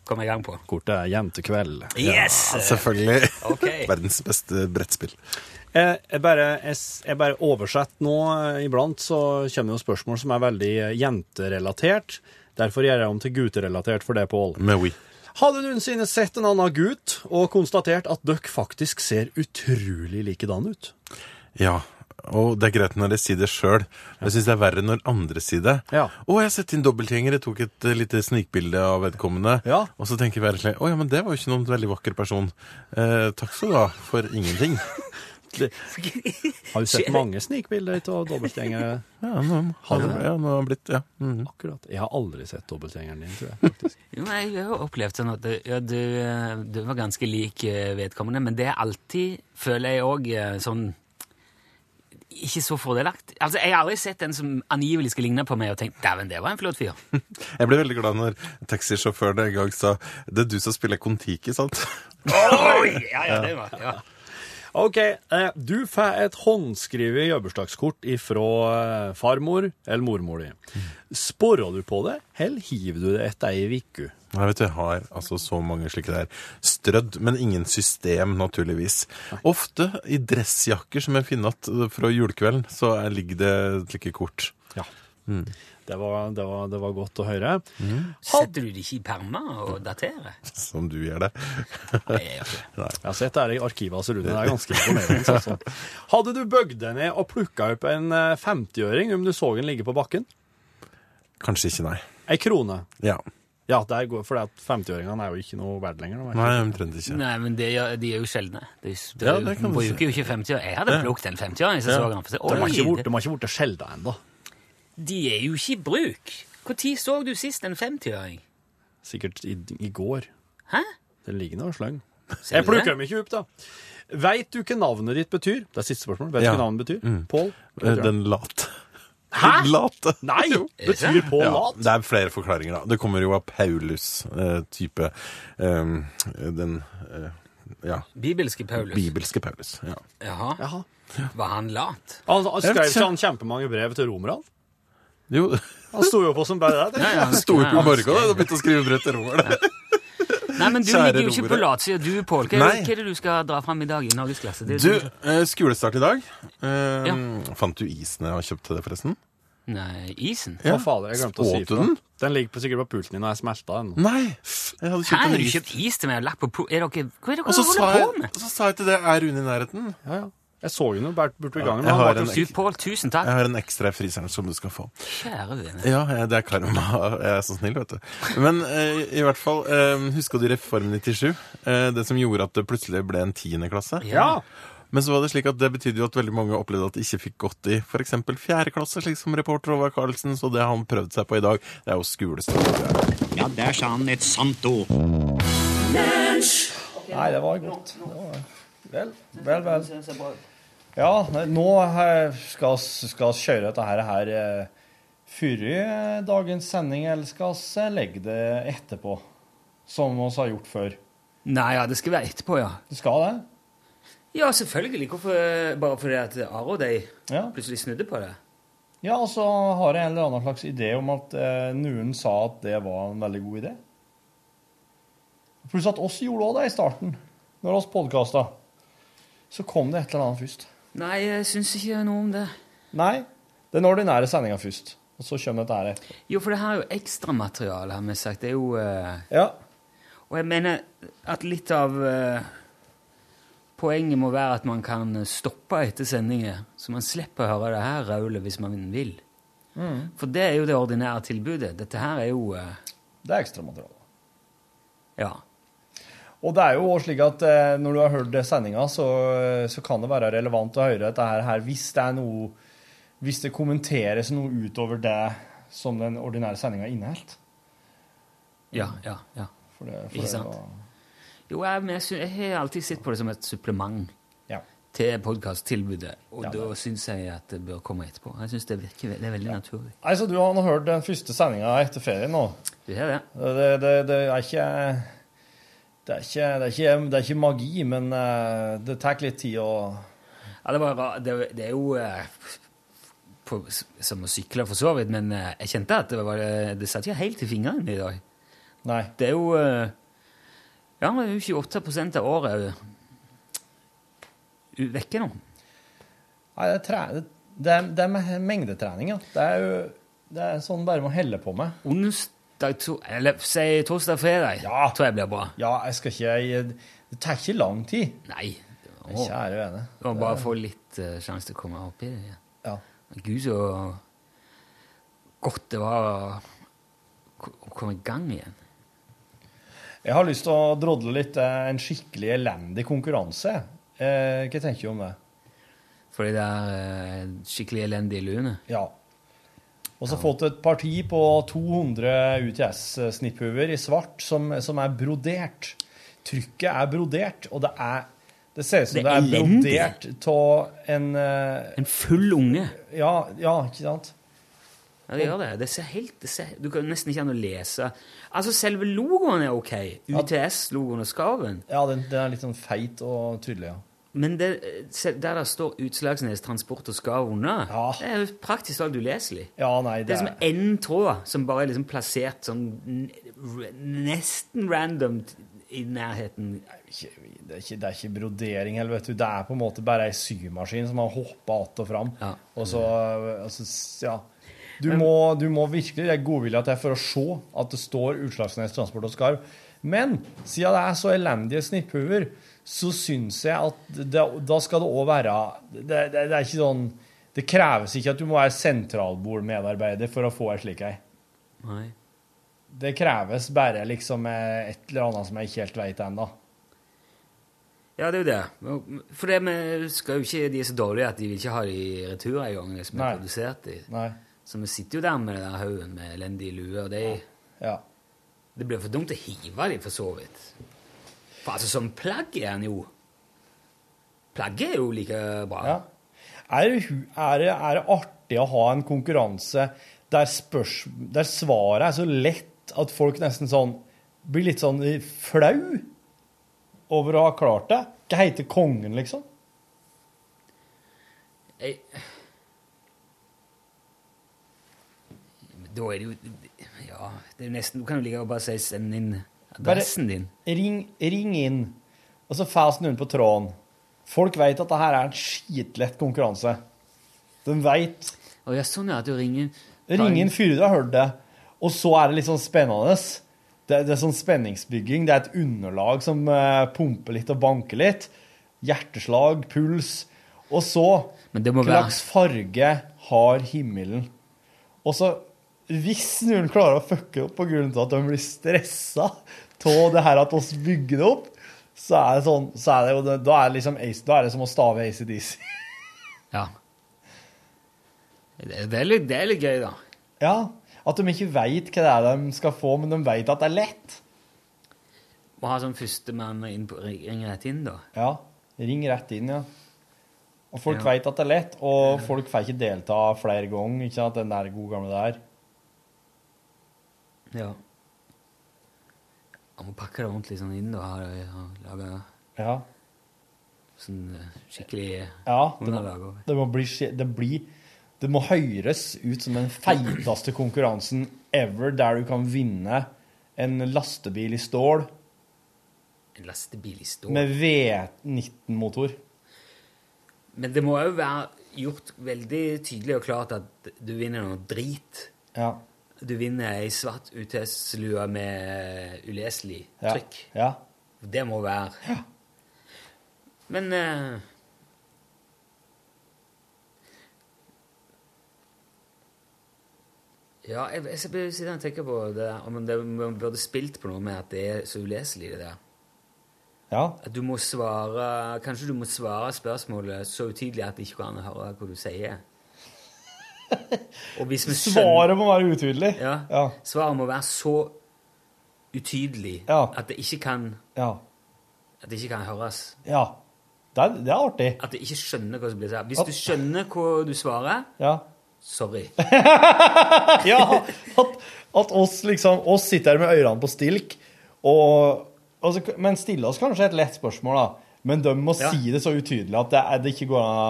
komme i gang på. Kortet er hjem til kveld. Yes! Selvfølgelig. Ok. Verdens beste brettspill. Jeg, Eh, jeg, bare, jeg, s- jeg bare oversetter nå eh, iblant, så kommer det jo spørsmål Mm. som er veldig eh, jenterelatert. Derfor gjør jeg om til guterelatert for det, Pål. Med oui. Har du noensinne sett en annen gutt og konstatert at dere faktisk ser utrolig likedan ut? Ja, og det er greit når jeg sier det sjøl. Jeg syns det er verre når andre sier det. Ja. Å, jeg har sett inn dobbeltgjengere, tok et eh, lite snikbilde av vedkommende. Ja. Og så tenker jeg bare slik Å ja, men det var jo ikke noen veldig vakker person. Eh, takk skal du ha for ingenting. Har du sett mange snikbilder av dobbeltgjengere? Ja, nå har du det, ja, nå har det blitt Ja. mhm. Akkurat. Jeg har aldri sett dobbeltgjengeren din, tror jeg. faktisk. Jo, men jeg har jo opplevd sånn at det- ja, du, eh, du var ganske lik eh, vedkommende, men det er alltid, føler jeg òg, sånn ikke så fordelaktig. Altså, Jeg har aldri sett en som angivelig skal ligne på meg, og tenkt 'dæven, det var en flott fyr'. Jeg ble veldig glad når taxisjåføren en gang sa Det er du som spiller Kon-Tiki, sant? Oi, ja, ja, det var, ja. OK. eh, Du får et håndskrevet jubileumskort ifra eh, farmor eller mormor di. Sporer du på det, eller hiver du det etter ei uke? Nei, vet du, Jeg har altså så mange slike der. Strødd, men ingen system, naturligvis. Ofte i dressjakker som jeg finner igjen fra julekvelden, så er- ligger det slike kort. Ja. Mm. Det, var, det, var, det var godt å høre. Setter du det ikke i permer og daterer? Som du gjør det. Nei, jeg gjør ikke det. Jeg har sett det her i arkivet hans, Rune. Det er ganske imponerende. Altså. Hadde du bøgd deg ned og plukka opp en eh, 50-øring om du så den ligge på bakken? Kanskje ikke, nei. Ei krone. Ja. Ja, der går, for 50-øringene er jo ikke noe verdt lenger. nå, vet du. Nei, omtrent ikke. Nei, men det gjør, de er jo sjeldne. De, de, Ja, det kan du si. bruker jo ikke 50 år. Jeg hadde plukket en 50-åring som så han for seg. De har ikke Oi, vært- de har ikke blitt skjelda ennå, de er jo ikke i bruk. Når så du sist en 50-åring? sikkert i, i går. Hæ? Den ligger nå og sløng. Ser Jeg du det? plukker dem ikke opp, da. Veit du hva navnet ditt betyr? Det er siste spørsmål. Vet du Ja. hva navnet betyr? Pål? Eh, Den late. Hæ? Late. Nei! Betyr Pål Ja, lat? det er flere forklaringer, da. Det kommer jo av Paulus-type ehm, Den eh, ja, Bibelske Paulus. bibelske Paulus. Ja. Jaha. Jaha. Var han lat? Han, han Jeg vet skrev ikke. ikke han kjempemange brev til romerne? Jo, Han sto jo på som bare det. ja, sto opp i morgenen og begynte å skrive brev til romerne. Nei, men du Kjære ligger jo ikke på romere. latsida, du, Pål. Hva, Nei. hva er det du skal dra fram i dag i norgesklasse? Det, sånn- Du, eh, skolestart i dag. Eh, Fant du isen jeg har kjøpt til deg, forresten? Nei, isen? Å, fader, jeg glemte å si Åt du ifra. den? Den ligger på, sikkert på pulten din, og jeg smelta den. Nei! Jeg hadde Hæ, kjøpt har en du is. kjøpt is til meg og lagt på po... Er dere, hva er det Og så dere sa, holder på jeg, med? så sa jeg til det er hun i nærheten. Ja, ja. Jeg så jo noe bært borte ved jeg gangen. men har han var en- ikke- Du, Pål, tusen takk. Jeg har en ekstra i fryseren som du skal få. Kjære vene. Ja, eh, det er karma. Jeg er så snill, vet du. Men eh, i hvert fall, eh, huska du Reform 97? Eh, det som gjorde at det plutselig ble en tiendeklasse? Ja! Men så var det slik at det betydde jo at veldig mange opplevde at de ikke fikk gått i f.eks. fjerde klasse, slik som reporter Håvard Karlsen, så det har han prøvd seg på i dag. Det er jo skolestart. Ja, der sa han et sant ord. Nei, det var godt. Det var- Vel, vel, vel. Ja, nei, nå eh, skal vi kjøre dette her, her eh, før eh, dagens sending, eller skal vi legge det etterpå? Som vi har gjort før. Nei, ja, det skal være etterpå, ja. Du skal det? Ja, selvfølgelig. Hvorfor bare fordi at Aro de Ja. plutselig snudde på det? Ja, og så har jeg en eller annen slags idé om at eh, noen sa at det var en veldig god idé. Pluss at oss gjorde også det i starten, når oss podkasta. Så kom det et eller annet først. Nei, jeg syns ikke noe om det. Nei, den ordinære sendinga først. Og så kommer dette her etterpå. Jo, for det her er jo ekstramateriale, har vi sagt. Det er jo eh, Ja. Og jeg mener at litt av eh, poenget må være at man kan stoppe etter sendinger, så man slipper å høre det her raulet hvis man vil. Mm. For det er jo det ordinære tilbudet. Dette her er jo eh, Det er ekstramateriale. Ja. Og det er jo også slik at eh, når du har hørt sendinga, så, så kan det være relevant å høre dette her, her hvis det er noe Hvis det kommenteres noe utover det som den ordinære sendinga inneholdt. Ja, ja, ja. For det- for Ikke det sant? var- Jo, jeg, men jeg, sy- jeg har alltid sett på det som et supplement Ja. til podkasttilbudet. Og Ja, da syns jeg at det bør komme etterpå. Jeg synes Det virker ve- det er veldig naturlig. Nei, så du har nå hørt den første sendinga etter ferien nå. Du ser det? Det, det, det er ikke det er ikke, det, er ikke, det er ikke magi, men eh, det tar litt tid å Ja, det, var, ra- det, det er jo eh, på, s- som å sykle, for så vidt, men eh, jeg kjente at det, var, eh, det satt ikke helt i fingrene i dag. Nei. Det er jo eh, Ja, det er jo 28 av året er jo- u- vekke nå. Nei, det er, tre, det, det er, det er me- mengdetrening, ja. Det er jo det er sånn bare må helle på med. Ons, dag to Eller si torsdag-fredag, tror jeg blir bra. Ja, jeg skal ikke jeg, Det tar ikke lang tid. Nei. Men Kjære vene. Det var bare å få litt eh, sjanse til å komme opp i det. Ja. Men Gud, så godt det var å ko- å komme i gang igjen. Jeg har lyst til å drodle litt eh, en skikkelig elendig konkurranse. Eh, hva tenker du om det? For de der eh, skikkelig elendige luene. Ja. Og så fått et parti på 200 UTS-snipphuer i svart som, som er brodert. Trykket er brodert, og det er Det ser ut som Det det er er, elendig. brodert av en eh, En full unge. Ja, ja, ikke sant? Ja, det gjør det. Det ser helt, det ser, du kan nesten ikke an å lese. Altså, selve logoen er ok. UTS-logoen og skarven. Ja, den, den er litt sånn feit og tydelig, ja. Men det, eh, se- der det står Utslagsnes Transport og Skarv under, det er jo praktisk talt uleselig. det, det er som er- én tråd som bare er liksom plassert sånn n- r- nesten random t- i nærheten. det er, ikke, det er ikke brodering heller, vet du. Det er på en måte bare ei symaskin som har hoppa att og fram. Og så, og så s- ja. Du må, du må virkelig Det er godvilje at det er for å se at det står Utslagsnes Transport og Skarv. Men siden det er så elendige snipphuer, så syns jeg at det, da skal det òg være det, det, det er ikke sånn Det kreves ikke at du må være sentralbordmedarbeider for å få ei slik ei. Nei. Det kreves bare liksom eh, et eller annet som jeg ikke helt veit ennå. Ja, det er jo det. For det med, skal jo ikke, de er så dårlige at de vil ikke ha de i retur en gang, de som Nei. er produsert i. Nei. Så vi sitter jo der med den der haugen med elendige luer, og det, Ja. det blir for dumt å hive de for så vidt. For altså, som plagg er den jo. Plagget er jo like bra. Ja. Er, det hu- er, det, er det artig å ha en konkurranse der, spørs, der svaret er så lett at folk nesten sånn blir litt sånn flau over å ha klart det? Hva heter kongen, liksom? Jeg... Da er det jo Ja, det er jo nesten Du kan jo like godt bare si send inn adressen din. Ring, ring inn, og så fast noen på tråden. Folk vet at det her er en skitlett konkurranse. De veit. Å ja, sånn ja, at du ringer Ring inn fyrer du har hørt det. Og så er det litt sånn spennende. Det, det er sånn spenningsbygging. Det er et underlag som eh, pumper litt og banker litt. Hjerteslag, puls. Og så Hva være- slags farge har himmelen? Og så hvis noen klarer å fucke opp på grunn av at de blir stressa av det her at oss bygger det opp, så er det sånn så er det jo, det- Da er det liksom ace, da er det som å stave ACDC. Ja. Det er, litt, det er litt gøy, da. Ja. At de ikke veit hva det er de skal få, men de veit at det er lett. Må ha sånn førstemann inn på Ring rett inn, da. Ja. Ring rett inn, ja. Og folk Ja. vet at det er lett, og folk får ikke delta flere ganger. Ikke sant, den der gode gamle der. Ja. Jeg må pakke det ordentlig sånn inn, da. Ha, ha, lage Ja. sånn eh, skikkelig ja det, underlag må, over. det, må bli, skje- det, blir, det må høres ut som den feiteste konkurransen ever, der du kan vinne en lastebil i stål En lastebil i stål. med V19-motor. Men det må jo være gjort veldig tydelig og klart at du vinner noe drit. Ja. Du vinner ei svart UTS-lue med uleselig Ja. trykk. Ja. Det må være. Men eh, Ja, jeg, jeg sitter sitter og tenker på det der, om det, om man burde spilt på noe med at det er så uleselig, det der. Ja. At du må svare Kanskje du må svare spørsmålet så utydelig at det ikke går an å høre hva du sier. Og hvis vi skjønner- Svaret må være utydelig. ja. Svaret må være så utydelig at det ikke kan Ja. At det ikke kan høres. ja. Det, er, det er artig. At det ikke skjønner hva som blir sagt. Hvis du skjønner hva du svarer Ja. Sorry. ja, at, at oss liksom oss sitter her med ørene på stilk, og, og så, men stille oss kanskje et lett spørsmål, da. Men de må Ja. si det så utydelig at det, er- det ikke går an å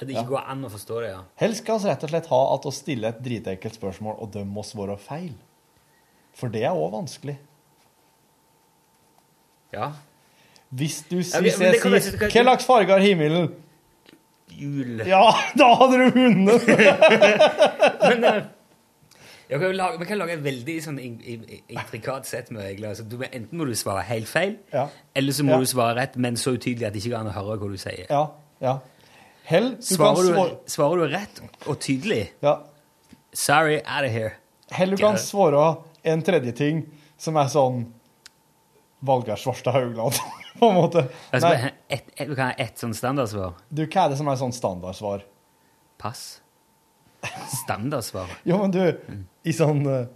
At det ikke går an å forstå det, ja. Helst skal vi rett og slett ha at oss stiller et dritekkelt spørsmål, og de må svare feil. For det er òg vanskelig. Ja. Hvis du Ja, sier men- men det kan sier, være- Hva slags farge har himmelen? Jul. Ja, da hadde du vunnet! Men eh, Jeg kan jo lage, vi kan lage et veldig sånn in, in, intrikat sett med regler. Altså, du, enten må du svare helt feil, eller så må Ja. du svare rett, men så utydelig at det ikke går an å høre hva du sier. Ja, ja. Hell, du Svarer kan du, svare svarer du rett og tydelig Sorry, out of here. Hell, du kan svare en tredje ting som er sånn Valgeir Svarstad Haugland, på en måte. Altså, Nei, et, et, du kan ha ett sånn standardsvar. du, hva er det som er sånn standardsvar? Pass. Standardsvar. Jo, men du, i sånn, eh,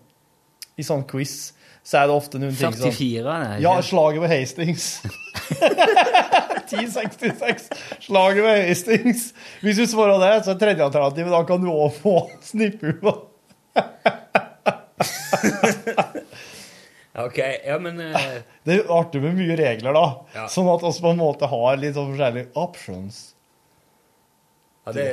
i sånn quiz så er det ofte noen ting som 44, nei. sånn. Ja, slaget ved Hastings. 1066. Slaget ved Hastings. Hvis du svarer det, så er tredje alternativet da kan du òg få snipphua. Ok, ja, men eh, Det er jo artig med mye regler, da. Ja. Sånn at oss på en måte har litt sånn forskjellige options. ja, det,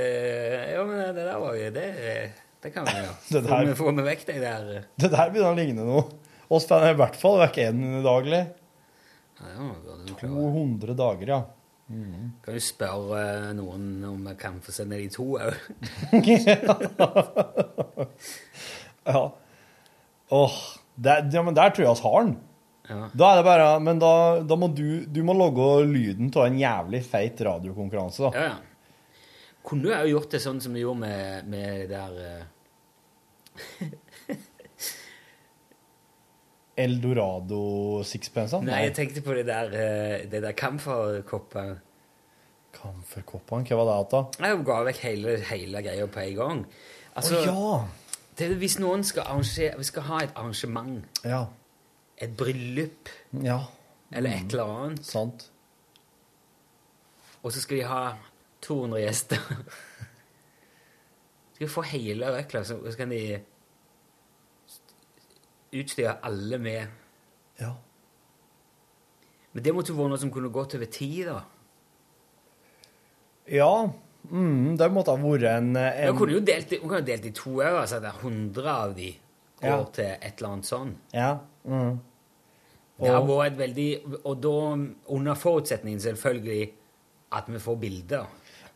ja, men eh, det der var jo Det, eh, det kan vi gjøre. Det der- Får vi- Får vi vekk de der eh, Det der begynner å ligne noe. Oss får i hvert fall vekk én daglig. ja, det var bra, det var klart. 200 dager, ja. Mhm. Kan du spørre eh, noen om vi kan få sende de to òg? ja. Åh, der, ja, men der tror jeg vi har den. Ja. Da er det bare, men da, da må du, du må logge lyden av en jævlig feit radiokonkurranse, da. Ja, ja. Kunne du òg gjort det sånn som du gjorde med, med det der eh, Eldorado sixpence? Nei, jeg tenkte på det der, eh, det der kamferkoppene. Kamferkoppene, hva var det at da? Jeg ga vekk hele, hele greia på en gang. Altså, Å, ja. det, er hvis noen skal arrangere Vi skal ha et arrangement, Ja. et bryllup ja. eller et eller annet Sant. Og så skal de ha 200 gjester. Skal de få hele røkla, så så kan de utstyre alle med Ja. Men det måtte jo vært noe som kunne gått over tid, da. Ja. Mm, det måtte ha vært en, en Da kunne jo delt, i- hun kunne jo delt i to år, altså at det er 100 av de går Ja. til et eller annet sånn. Ja. Mm. Det har Og- vært et veldig Og da under forutsetningen selvfølgelig at vi får bilder.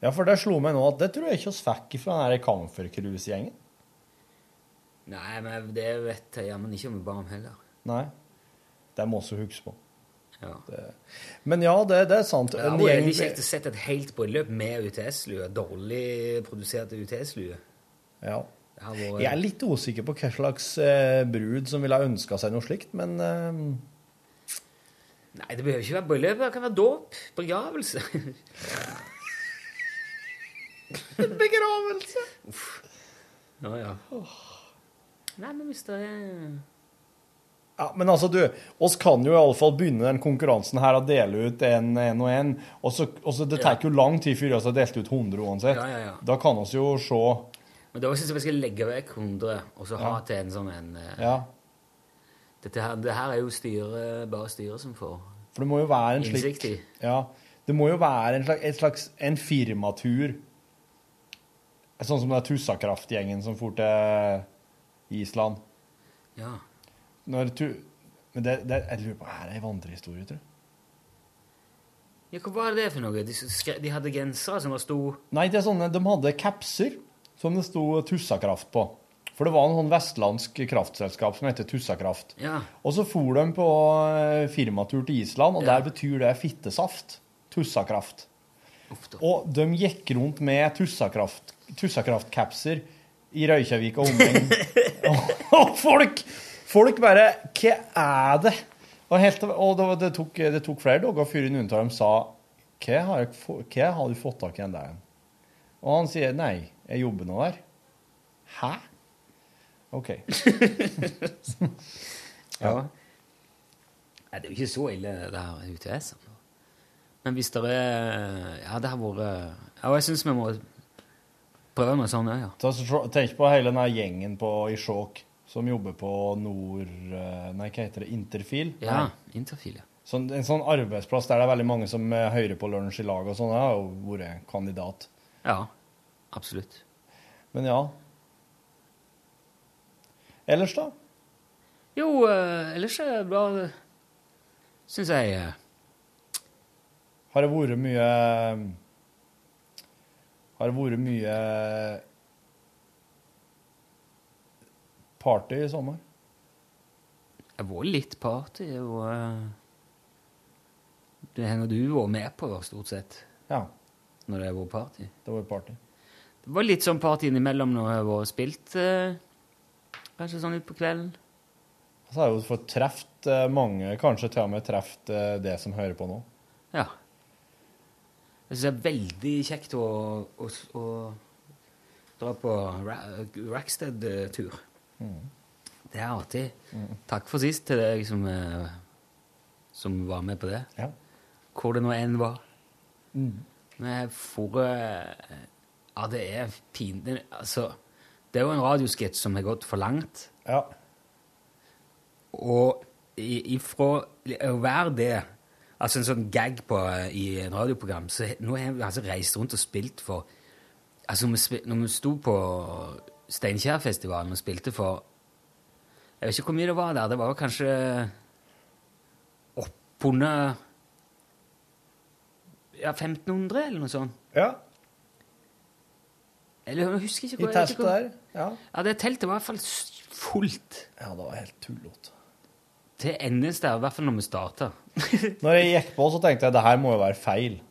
Ja, for det slo meg nå at det tror jeg ikke oss fikk fra den her Camphor-cruise-gjengen. Nei, men det vet jeg jammen ikke om vi ba om heller. Nei. Det må vi huske på. Ja. Det. Men ja, det, det er sant. Men En Det er gjeng- veldig kjekt å sette et helt bryllup med UTS-lue. Dårlig produserte UTS-lue. Ja. Det har vært- Jeg er litt usikker på hva slags eh, brud som ville ha ønska seg noe slikt, men eh, Nei, det behøver ikke være bryllup. Det kan være dåp. Begravelse. Begravelse! Ja, ja. Nei, men hvis det er Ja, Men altså, du, oss kan jo iallfall begynne den konkurransen her og dele ut en, en og en. Og så, og så det tar jo lang tid før vi har delt ut 100 uansett. Ja, ja, ja. Da kan oss jo se Men da syns jeg vi skal legge vekk 100, og så ha Ja. til en sånn en eh, Ja. Dette her, det her er jo styret, bare styret som får For det må jo være en slik innsikt i. Ja, det må jo være en slags, et slags en firmatur. Sånn som den Tussakraft-gjengen som for til Island. Ja. Når tu, men det, det, jeg lurer på, er det en vandrehistorie, tror du? Ja, hva var det for noe? De, skre, de hadde gensere som var sto Nei, det er sånne, de hadde kapser som det sto Tussakraft på. For det var en sånn vestlandsk kraftselskap som heter Tussakraft. Ja. Og så for de på eh, firmatur til Island, og der betyr det fittesaft. Tussakraft. Og de gikk rundt med Tussakraft- Tussakraft-capser i Røykjavik og omegn. og folk, folk bare Hva er det? Og, helt, og det, var- det, tok, det tok flere dager før noen av dem sa Hva har, dere få- hva har du fått tak i den der? Og han sier nei, jeg jobber nå der. Hæ? OK. Ja. Nei, det er jo ikke så ille, det her UTS-en. da. altså. Men hvis det er Ja, det har vært Ja, jeg syns vi må prøve noe sånt òg, ja. Ta- så- Tenk på hele denne gjengen på, i Skjåk som jobber på Nord... eh, Nei, hva heter det? Interfil? Ja, Nei. Interfil, ja. Sånn, en sånn arbeidsplass der det er veldig mange som eh, hører på lunsj i lag og sånn, jeg har jo vært kandidat. Ja, absolutt. Men ja. Ellers da? Jo, eh, ellers er det bare Syns jeg eh, Har det vært mye Har det vært mye party i sommer? Det var litt party, og eh, det har nå du vært med på, stort sett. Ja. Når det har vært party. Det var party. Det var litt sånn party innimellom når jeg har vært og spilt, eh, kanskje sånn utpå kvelden. Og så har jeg jo fått treft eh, mange, kanskje til og med treft eh, det som hører på nå. Ja. Jeg syns det er veldig kjekt å, å, å dra på Ra- Rackstead-tur. Mm. Det er artig. Mm. Takk for sist til deg som, eh, som var med på det. Hvor det nå enn var. Mm. Men jeg for, eh, Ja, det er pinlig. Altså, det er jo en radiosketsj som har gått for langt. Ja. Og i- ifra å være det Altså en sånn gag på, eh, i en radioprogram så he- Nå har vi altså reist rundt og spilt for Altså, vi spil, når vi sto på Steinkjerfestivalen og spilte for Jeg vet ikke hvor mye det var der. Det var jo kanskje oppunder Ja, 1500, eller noe sånt. Ja. Eller jeg husker ikke I jeg vet ikke teltet der. Ja. Ja, det teltet var i hvert fall s- fullt. Ja, det var helt tullete. Til endes der, i hvert fall når vi starta. Når jeg gikk på, så tenkte jeg det her må jo være feil.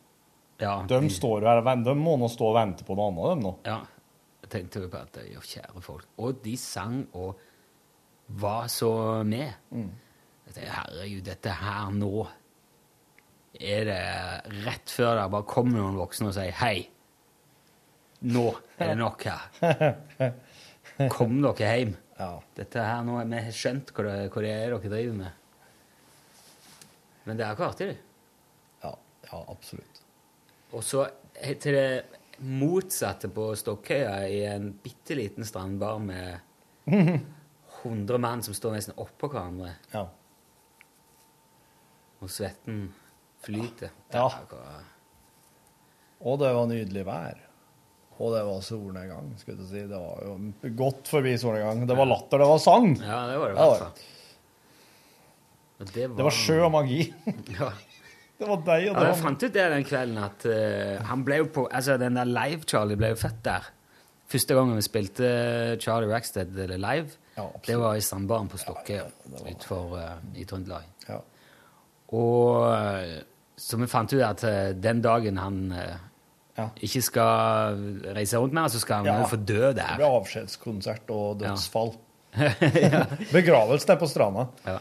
de, står jo her, og vent- de må nå stå og vente på noe annet, de nå. Ja, jeg tenkte jo på at ja, kjære folk. Og de sang og var så med. Jeg tenkte, herregud, dette her nå er det rett før det bare kommer noen voksne og sier hei. Nå er det nok her. Kom dere hjem. Dette her nå, vi har skjønt hva det, hva det er dere driver med. Men det er ikke artig, det. Ja, ja absolutt. Og så til det motsatte på Stokkøya, i en bitte liten strandbar med 100 mann som står nesten oppå hverandre. Ja. Og svetten flyter. Ja. Det var- Og det var nydelig vær. Og det var solnedgang, skulle jeg til å si. Det var jo godt forbi solnedgang. Det var latter, det var sang. Ja, det var det i Ja, hvert fall. Og Det Det var sjø og magi. Ja. Det var deg og Ja, jeg det var fant ut det den kvelden at eh, han ble jo på Altså, den der Live-Charlie ble jo født der. Første gangen vi spilte eh, Charlie Rackstead live, det var i Strandbaren på Stokke utenfor eh, i Trøndelag. Og eh, så vi fant ut at eh, den dagen han eh, ikke skal reise rundt mer, så skal han Ja. jo få dø Det der. ble avskjedskonsert og dødsfall. Ja. Begravelse nede på stranda. Ja.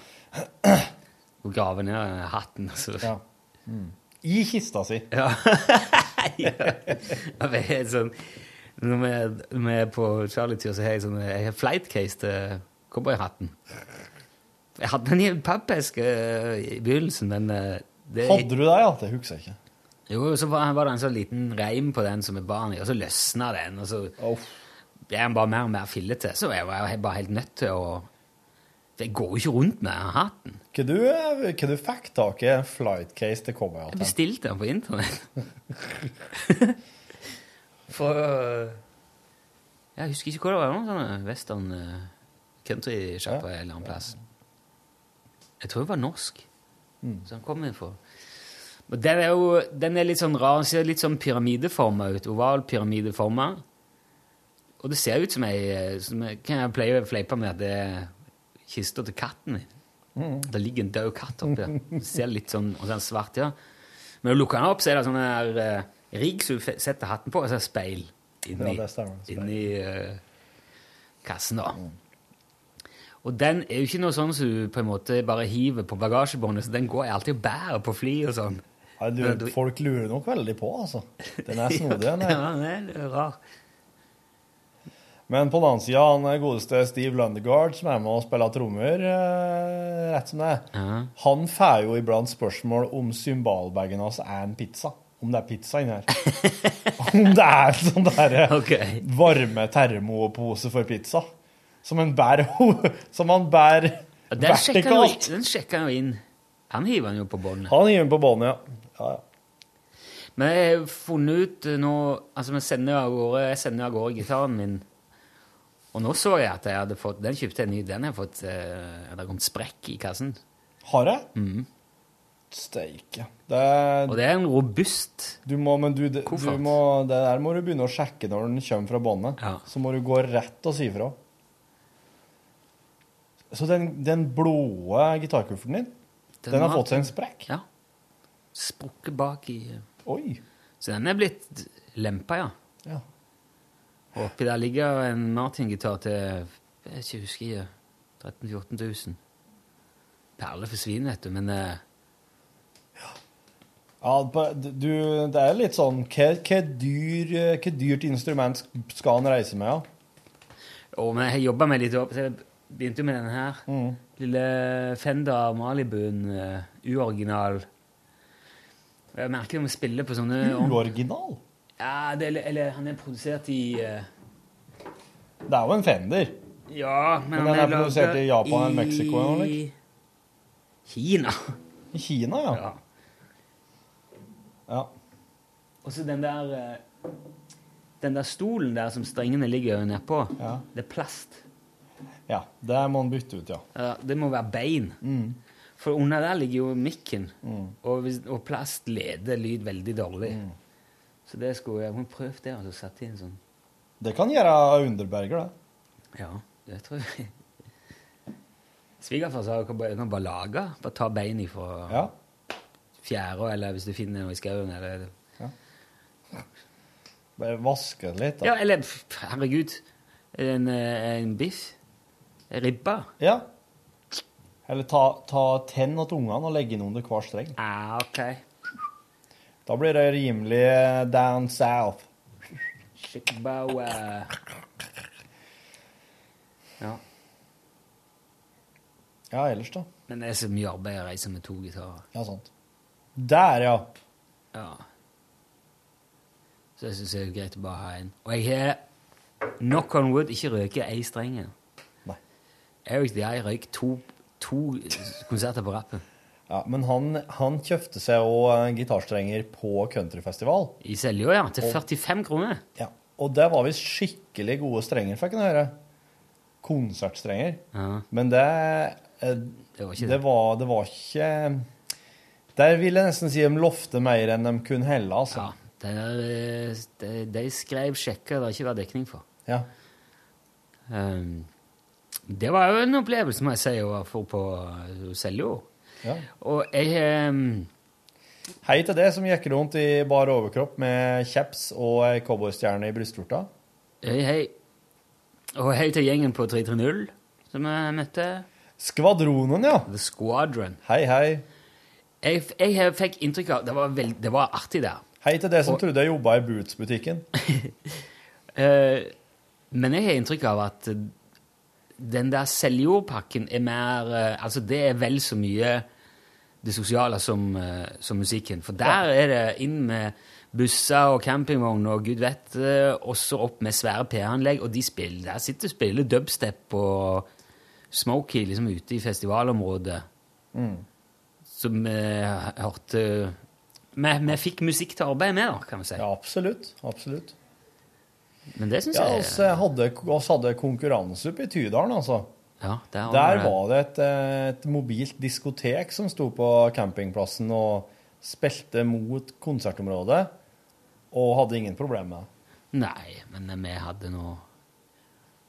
Og grave ned hatten. Så. Ja. Mm. I kista si. Ja. ja. Jeg er sånn, når vi er- når vi er på Charlie-tur, så har jeg sånn Jeg har flightcase til cowboyhatten. Jeg hadde den i en pappeske eh, i begynnelsen, men eh, det, Hadde du det, ja? Det husker jeg ikke. Jo, så var, var det en sånn liten reim på den som er barn i, og så løsna den, og så ble den bare mer og mer fillete. Så jeg var bare helt nødt til å Jeg går jo ikke rundt med den hatten. Hva du, eh, hva du fikk tak i en flightcase til Jeg cowboyhatten? bestilte den på internett. For eh, Jeg husker ikke hvor det var. Noen sånne western eh, country-sjappa en eller annen plass. Jeg tror det var norsk. Mm. Så han kom ifra. Men den er jo den er litt sånn rar. Den ser litt sånn pyramideforma ut. Oval pyramideforma. Og det ser ut som ei eh, som ei- Kan jeg pleie å fleipe med at det er kista til katten min? Mm. Det ligger en død katt oppi der. Det Ser litt sånn, og så er den svart, ja. Men når du lukker den opp, så er det sånn her eh, rigg som du fe- setter hatten på, og så er det speil inni, Ja, det stemmer, Mm. speil. inni eh, kassen, da. Og den er jo ikke noe sånn som du på en måte bare hiver på bagasjebåndet, så den går jeg alltid og bærer på fly og sånn. Ja, du, folk lurer nok veldig på, altså. Den er snodig, den Ja, her. den er litt rar. Men på den annen side, han eh, godeste Steve Lundegaard, som er med og spiller trommer, eh, rett som det er, han får jo iblant spørsmål om symbalbagen hans er en pizza. Om det er pizza inni her. om det er en sånn derre varme termopose for pizza. Som han bærer Som han bærer Ja, Den sjekker, han, vertikalt. jo- den sjekker han jo inn. Han hiver den jo på båndet. Han hiver den på båndet, ja. ja, ja. Men jeg har funnet ut eh, nå Altså, vi sender av gårde, jeg sender av gårde gitaren min. Og nå så jeg at jeg hadde fått Den kjøpte jeg ny. Den har jeg fått eh, Det har kommet sprekk i kassen. Har jeg? Steike. Det er, Og det er en robust du må, Men du, det- du koffert. må, det der må du begynne å sjekke når den kommer fra båndet. Så må du gå rett og si ifra. Så den, den blå gitarkufferten din, den, har fått seg en sprekk? Ja. Sprukket bak i eh, Oi. Så den er blitt lempa, ja. Ja. Og oppi der ligger en Martin-gitar til jeg vet ikke, jeg husker ikke 13 000-14 000. Perler forsvinner, vet du, men eh, Ja, på- du, det er litt sånn Hva hva dyr, eh, hva dyrt instrument skal han reise med, ja? Og men jeg jobba meg litt opp, så jeg begynte jo med denne her. Mm. Lille Fender Malibuen, eh, uoriginal. Og Jeg merker jo vi spiller på sånne Uoriginal? Ja, det, eller, eller han er produsert i eh, Det er jo en Fender. Ja, men, han Men den er laget produsert i Japan eller Mexico eller noe? Kina. I Kina, ja. Ja. Ja. Og så den der eh, Den der stolen der som strengene ligger nedpå, det er plast. Ja, Det må han bytte ut, ja. Mm. Ja, det må være bein. For under der ligger jo mikken, og, hvis, og plast leder lyd veldig dårlig. Så det skulle jeg må prøve det, og så sette inn sånn Det kan gjøre underberger, det. Ja, det tror jeg. Svigerfar sa du bare, du kan bare lage, bare ta bein ifra fjæra, eller hvis du finner noe i skauen, eller Bare vaske det litt. da. Ja, eller pff, herregud, en, eh, en biff. En Ribba. Ja. Eller ta, ta tenn og tungene og legge inn under hver streng. Ja, Ah, ok. Da blir det rimelig eh, down south. Shikbawa. Ja. Ja, ellers, da. Men det er så mye arbeid å reise med to gitarer. Ja, sant. Der, ja. Ja. Så jeg syns det er greit å bare ha en. Og jeg har knock on wood ikke røket ei streng. igjen. Jeg, og jeg røyk to, to konserter på rappen. Ja, Men han, han kjøpte seg òg gitarstrenger på countryfestival. I Seljå, ja. Til 45 kroner. Ja, Og det var visst skikkelig gode strenger, fikk en høre. Konsertstrenger. Ja. Men det eh, Det var det. ikke det. var, det var ikke Der vil jeg nesten si de lovte mer enn de kunne helle, altså. Det er, eh, de, de skrev sjekker det ikke var dekning for. Ja. Ehm, det var jo en opplevelse, må jeg si, å få på eh, Seljå. Ja. Og jeg ehm, Hei til det som gikk rundt i bar overkropp med kjeps og ei cowboystjerne i brystvorta. Hei, hei. Og hei til gjengen på 330 som jeg møtte. Skvadronen, ja. The Squadron. Hei, hei. Jeg, f- jeg he- fikk inntrykk av Det var, vel- det var artig der. Hei til det som Og- trodde jeg jobba i Boots-butikken. Eh, men jeg har inntrykk av at eh, den der selvjordpakken er mer eh, Altså, det er vel så mye det sosiale som, eh, som musikken. For der er det inn med busser og campingvogner og gud vet, eh, også opp med svære P-anlegg, og de spiller, der sitter og spiller dubstep og smokey liksom ute i festivalområdet. Mm. Som vi hørte vi, vi fikk musikk til å arbeide med, da, kan vi si. Ja, absolutt. absolutt. Men det syns Ja, altså, jeg oss hadde, oss hadde konkurranse oppe i Tydalen, altså. Ja, der, Der var det et, eh, et mobilt diskotek som sto på campingplassen og spilte mot konsertområdet, og hadde ingen problemer med det. Nei, men vi hadde noe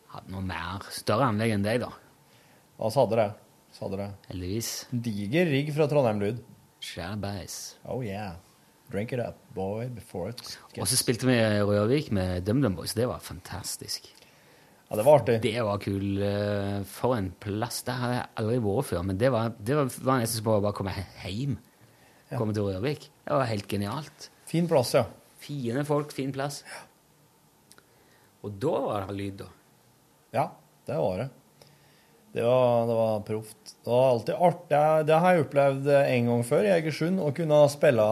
Hadde noe mer større anlegg enn deg, da. Altså hadde det. Så hadde det. Heldigvis. Diger rigg fra Trondheim Lyd. Svær bæsj. Oh yeah. Drink it up, boy, before it Og så gets spilte vi i Rørvik med DumDum Boys. Det var fantastisk. Ja, det var artig. Det var kul. eh, For en plass. Der hadde jeg aldri vært før. Men det var, det var, var nesten som å bare komme he- hjem. Komme til Rørvik. Det var helt genialt. Fin plass, ja. Fine folk, fin plass. Og da var det lyd, da. Ja, det var det. Det var, det var proft. Det var alltid artig. Det- Det har jeg opplevd en gang før i Egersund, å kunne spille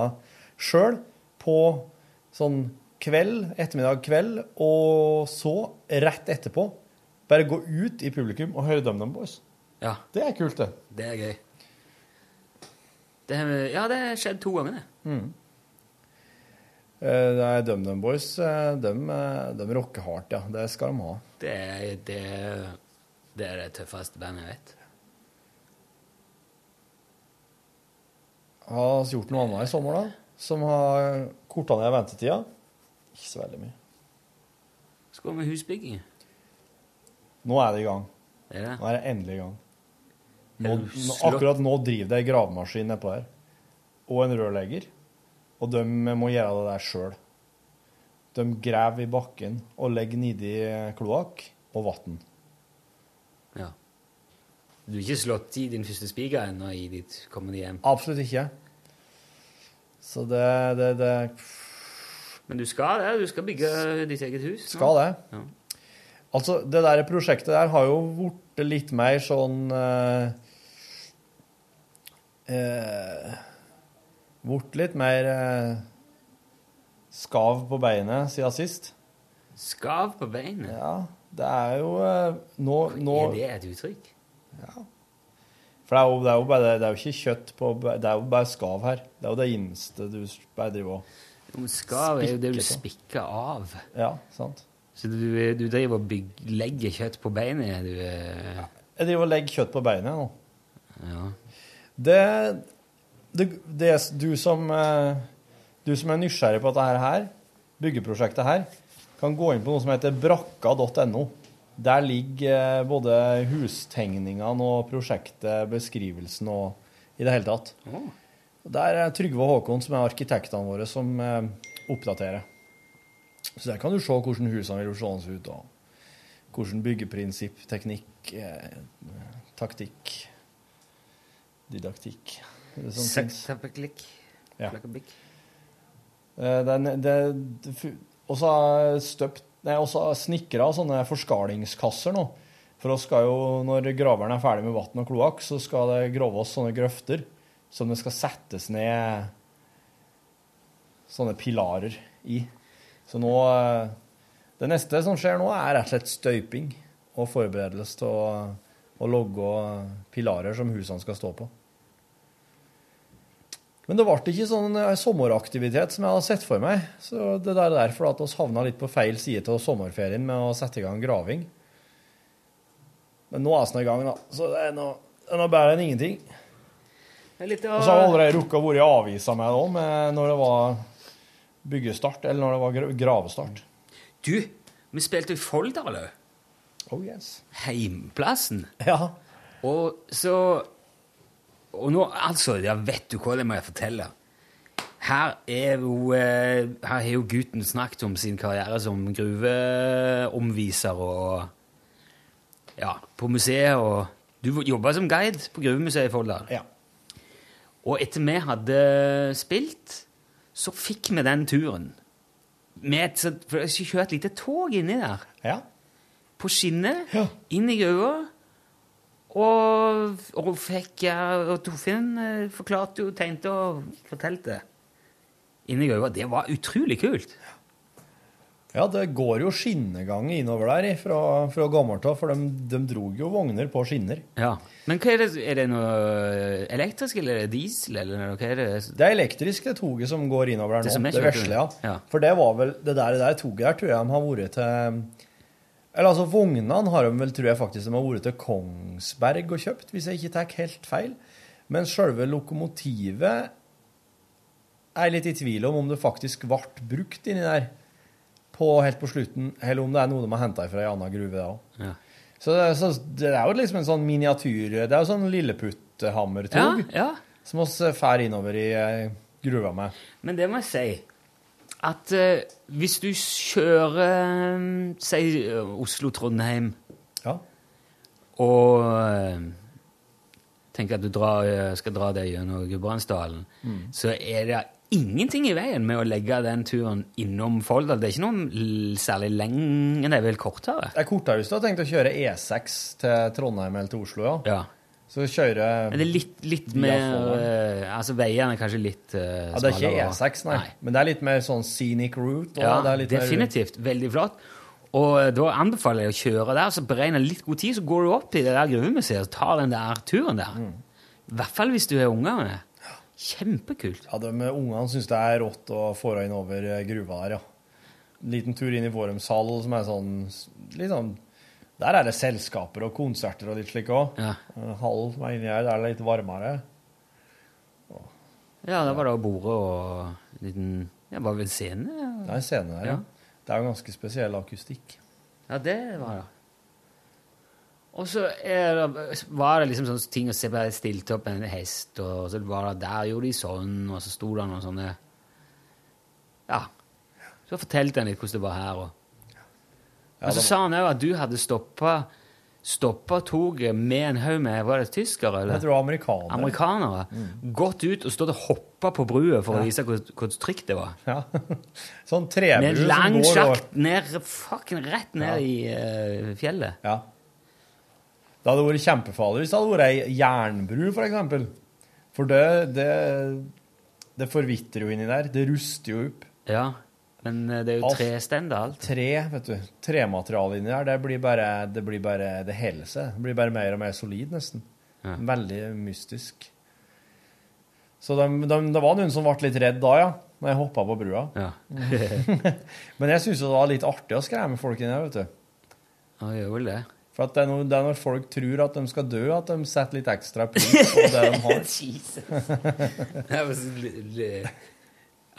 sjøl på sånn kveld, ettermiddag, kveld, og så rett etterpå bare gå ut i publikum og høre DumDum Boys. Ja. Det er kult, det. Det er gøy. Det, ja, det har skjedd to ganger, det. Mm. Eh, Nei, DumDum Boys, eh, dem, eh, dem rocker hardt, ja. Det skal de ha. Det er det, det er det tøffeste bandet jeg vet. Har vi gjort noe annet i sommer, da? Som har korta ned ventetida? Ikke så veldig mye. Skal vi med husbygging? Nå er det i gang. Det er det. Nå er det endelig i gang. Nå, Er du nå, slå- akkurat nå driver det ei gravemaskin nedpå der, og en rørlegger. Og de må gjøre det der sjøl. De graver i bakken og legger nedi kloakk og vann. Ja. Du har ikke slått i din første spiker ennå i ditt kommende hjem. Absolutt ikke. Så det, det, det Men du skal det. Du skal bygge ditt eget hus. nå. skal det. Ja. Altså, det der prosjektet der har jo blitt litt mer sånn eh, eh, Blitt litt mer eh, skav på beinet siden sist. Skav på beinet? Ja. Det er jo eh, nå, nå Er det et uttrykk? For det er, jo, det, er jo bare, det er jo ikke kjøtt på be- Det er jo bare skav her. Det er jo det innste du s- bare driver og Men Skav er jo det du Spikker på. spikker av. Ja, sant. Så du, er- du driver og bygg- legger kjøtt på beinet? Du, er- Jeg driver og legger kjøtt på beinet nå. ja. Det, det, det er s- du som eh, Du som er nysgjerrig på dette her, byggeprosjektet her, kan gå inn på noe som heter brakka.no. Der ligger eh, både hustegningene og prosjektet, beskrivelsen og i det hele tatt. Og Der er Trygve og Håkon, som er arkitektene våre, som eh, oppdaterer. Så der kan du se hvordan husene vil se ut, og hvordan byggeprinsipp, teknikk, eh, taktikk, didaktikk er det sånn ting? Saktapeklikk. Ja. Flakkabikk. Eh, den- det- det fu- Og så har jeg støpt Nei, og så har jeg snekra sånne forskalingskasser nå. For oss skal jo, når graveren er ferdig med vann og kloakk, så skal det graves sånne grøfter som det skal settes ned sånne pilarer i. Så nå eh, Det neste som skjer nå, er rett og slett støyping og forberedelse til å, å logge pilarer som husene skal stå på. Men det ble ikke sånn eh, sommeraktivitet som jeg hadde sett for meg. Så det der er derfor at oss havna litt på feil side av sommerferien med å sette i gang graving. Men nå er vi nå i gang, da. Så det er nå, det er nå bedre enn ingenting. Det er litt Og så har vi av allerede rukket å være i avisa med det òg, når det var byggestart, eller når det var gra- gravestart. Du, vi spilte i Folldal òg. Oh yes. Heimplassen. Ja. Og så Og nå, altså, ja, vet du hva det må jeg fortelle? Her er jo eh, Her har jo gutten snakket om sin karriere som gruveomviser og Ja, på museet og Du jobba som guide på Gruvemuseet i Folldal. Og etter vi hadde spilt, så fikk vi den turen. Med et, sånt- for jeg skulle kjøre et lite tog inni der. På skinnet, inn i gruva. Og, og fikk eh, Og Torfinn eh, forklarte og tegnte og fortalte. Inni gruva. Det var utrolig kult. Ja, det går jo skinnegang innover der i, fra, fra gammelt av, for de, de drog jo vogner på skinner. Ja. Men hva er det, er det noe elektrisk, eller er det diesel, eller hva er det? Det er elektrisk, det toget som går innover her Det nå. som Det, jeg det kjørte vesle, ja. med. Ja. For det var vel Det der, det der toget der tror jeg de har vært til Eller altså, vognene har de vel, tror jeg faktisk de har vært til Kongsberg og kjøpt, hvis jeg ikke tar helt feil. Men sjølve lokomotivet er jeg litt i tvil om om det faktisk ble brukt inni der på, helt på slutten, eller om det er noe de har henta fra ei anna gruve, det òg. Ja. Så, det- så det er jo liksom en sånn miniatyr Det er jo sånn lilleputthammertog Ja, ja. som oss fær innover i eh, gruva med. Men det må jeg si at eh, hvis du kjører eh, Si eh, Oslo-Trondheim og eh, tenker at du drar, eh, skal dra deg gjennom Gudbrandsdalen, Mm. så er det ingenting i veien med å legge den turen innom Folldal. Det er ikke noe l- særlig lenge, det er vel kortere? Det er kortere hvis du har tenkt å kjøre E6 til Trondheim eller til Oslo, ja. Så kjøre Men det er litt, litt via mer Folldal. eh, Altså veiene er kanskje litt eh, Ja, det er ikke smalere. E6, nei. Men det er litt mer sånn scenic route. og Ja, det er litt mer- definitivt. Veldig flott. Og eh, da anbefaler jeg å kjøre der, så beregner litt god tid, så går du opp i det der gruvemuseet og tar den der turen der. Mm. I hvert fall hvis du er unger med. Kjempekult. Ja, de ungene syns det er rått å få inn over eh, gruva der, ja. Liten tur inn i Vårumshall, som er sånn litt sånn Der er det selskaper og konserter og litt slik òg. Ja. Hall som er inni her, der er det litt varmere. Ja, der var det bordet og en liten Ja, var det en scene? Det er en scene der, ja. Det er jo ganske spesiell akustikk. Ja, det var det. Og så er det, var det liksom sånne ting å se på. Jeg stilte opp en hest, og så var det der gjorde de sånn, og så sto det noen sånne Ja. Så fortalte han litt hvordan det var her. Og, og så det- sa han òg at du hadde stoppa Stoppa toget med en haug med Var det tyskere? Eller? Jeg tror amerikanere. Amerikanere. Mm. Gått ut og stått og hoppa på brua for å vise hvor, hvor trygt det var. Sånn Med trebru en som lang går over. sjakt ned, fucking rett ned i eh, fjellet. Ja. Det hadde vært kjempefarlig hvis det hadde vært ei jernbru, for eksempel. For det, det, det forvitrer jo inni der. Det ruster jo opp. Ja, men eh, det er jo trestender, alt. Tre, vet du. Trematerialet inni der, det blir bare Det blir bare, det holder seg. Det blir bare mer og mer solid, nesten. Veldig mystisk. Så dem- dem- det var noen som ble litt redd da, ja. Når jeg hoppa på brua. Men jeg syns det var litt artig å skremme folk inni der, vet du. Ja, gjør vel det. For at det, er når, det er når folk tror at de skal dø, at de setter litt ekstra pris på det de har. Jesus. Det var så l- l-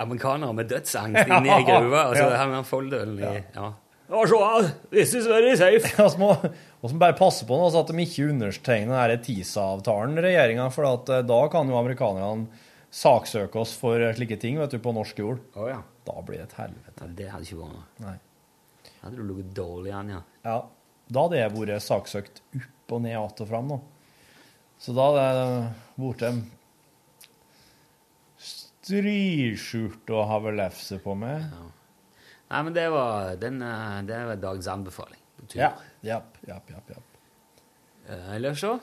Amerikanere med dødsangst inni Ja, ei gruve, og så ja. har vi Folldølen i ja. Og se her, this is very safe. Og så må og så bare passe på nå, så at de ikke undertegner denne TISA-avtalen, regjeringa, for at eh, da kan jo amerikanerne saksøke oss for eh, slike ting, vet du, på norsk jord. Da blir det et helvete. Det hadde ikke vært noe. Nei. Hadde du ligget dårlig an, ja. Ja, da hadde jeg vært saksøkt opp og ned, att og fram nå. Så da hadde jeg eh, vært en striskjorte og havelefse på meg. Nei, men det var, den, eh, det var dagens anbefaling. på tur. Ja, japp, japp, japp, japp. Eh, Eller så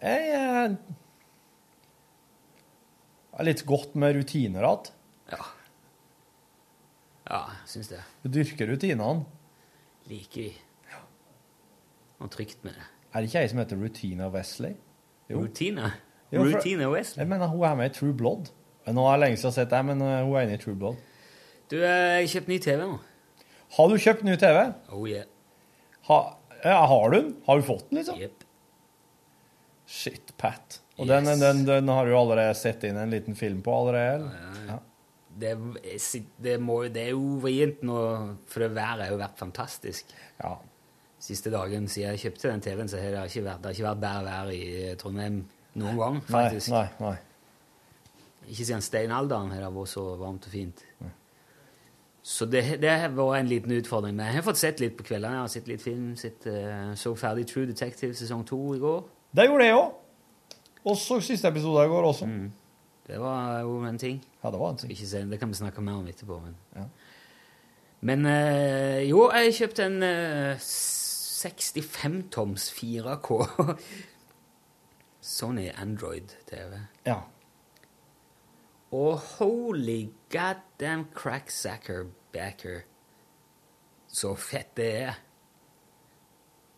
Jeg eh, er litt godt med rutiner igjen. Ja, syns det. Du dyrker rutinene. Liker de. Og trygt med det. Er det ikke ei som heter Rutina Wesley? Rutina? Jo, for- Rutina Wesley? Jeg mener, hun er med i True Blood. Nå er det lenge siden jeg har sett deg, men eh, hun er inne i True Blood. Du, eh, jeg kjøpte ny TV nå. Har du kjøpt ny TV? Oh yeah. Ha, ja, har du den? Har du fått den, liksom? Yep. Shit, Pat. Og den, den, den har du allerede sett inn en liten film på allerede? eller? Ja. Det, er- eh, det, må, det er jo vrient nå, for det været har jo vært fantastisk. Ja. Siste dagen siden jeg kjøpte den TV-en, så har det ikke vært, det har ikke vært bedre vær i eh, Trondheim noen gang, faktisk. Nei, nei, nei. Ikke siden steinalderen har det vært så varmt og fint. Så det, det har vært en liten utfordring. Men jeg har fått sett litt på kveldene. Jeg har sett litt film. Sett, eh, så ferdig True Detective sesong to i går. Det gjorde jeg òg. Og så siste episode i går også. Det var jo en ting. Ja, Det var en ting. Ikke se, det kan vi snakke mer om etterpå. Men, Ja. men eh, jo, jeg kjøpte en eh, 65-toms 4K Sony Android-TV. Ja. Og holy goddamn cracksacker backer. Så fett det er.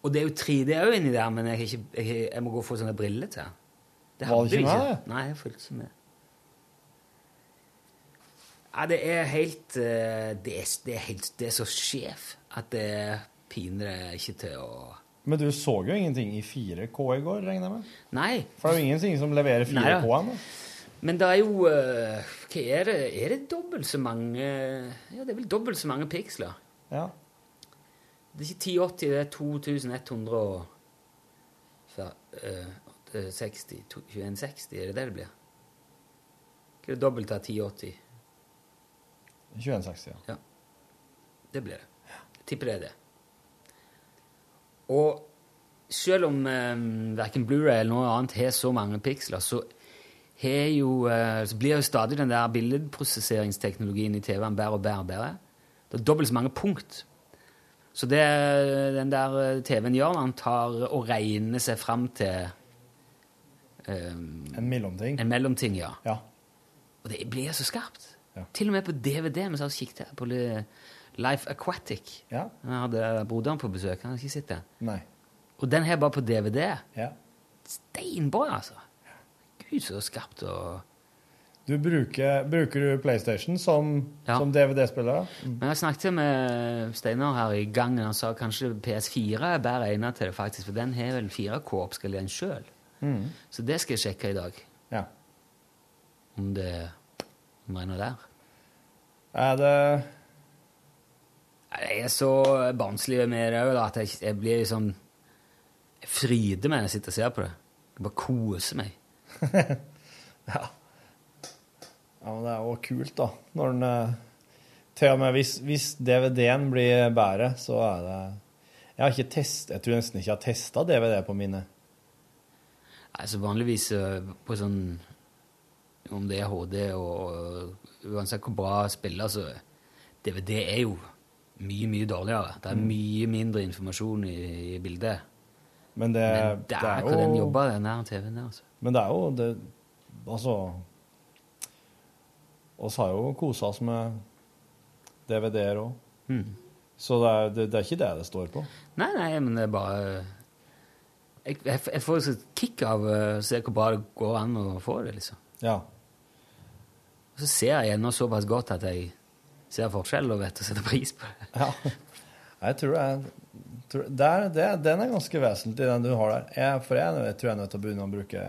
Og det er jo 3D òg inni der, men jeg, har ikke, jeg, har- jeg må gå og få sånne briller til. Var det hadde jeg ikke med det? Nei, jeg fulgte ikke med. Ja, det er helt eh, det, er, det, er helt det er så skjev at det piner det ikke til å Men du så jo ingenting i 4K i går, regner jeg med? Nei. For det er jo ingenting som leverer 4K Neida. ennå. Men det er jo eh, Hva er det? Er det dobbelt så mange Ja, det er vel dobbelt så mange piksler. Ja. Det er ikke 1080, det er 2100 og fa- eh, 60, to- 2160, er det det det blir? Hva er det dobbelt av 1080? 2160, ja. Det blir det. Jeg tipper det er det. Og selv om um, verken Blu-ray eller noe annet har så mange piksler, så, har jo, eh, så blir jo stadig den der billedprosesseringsteknologien i TV-en bedre og bedre og bedre. Det er dobbelt så mange punkt. Så det den der eh, TV-en gjør, den tar og regner seg fram til eh, En mellomting. En mellomting, ja. Ja. Og det blir så skarpt. Til og med på DVD. Vi satt og kikket her på Le- Life Aquatic. Jeg hadde broderen på besøk. Han hadde ikke sett den. Nei. Og den her bare på DVD. Ja. Steinbra, altså. Gud, så skarpt og Du bruker, bruker du PlayStation som, Ja. som DVD-spiller? Men jeg snakket med Steinar her i gangen. Han sa kanskje PS4 er bedre egnet til det, faktisk. For den har vel 4K-oppskalering sjøl. Mm. Så det skal jeg sjekke i dag. Ja. Om det om det er noe der. Er det Nei, Jeg er så barnslig med det òg, at jeg, jeg blir liksom Jeg fryder meg når jeg sitter og ser på det. Jeg bare koser meg. Ja, men det er jo kult, da. Når den eh, Til og med hvis, hvis DVD-en blir bedre, så er det Jeg har ikke test, jeg tror nesten ikke jeg har testa DVD på mine. Altså vanligvis eh, på sånn Om det er HD og, og uansett hvor bra spiller, så DVD er jo mye, mye dårligere. Det er Mm. mye mindre informasjon i, i bildet. Men det, Men Eh, det der kan den jobbe, den der TV-en der. altså. Men det er jo det Altså oss har jo kosa oss med DVD-er òg. Så det er, det, det er ikke det det står på. Nei, nei, men det er bare eh, Jeg, jeg, jeg får et kick av eh, å se hvor bra det går an å få det, liksom. Ja. Og så ser jeg ennå såpass godt at jeg ser forskjell og vet å sette pris på det. Jeg tror det er tror, det er- det, er- Den er ganske vesentlig, den du har der. Jeg, for jeg, jeg tror jeg er nødt til å begynne å bruke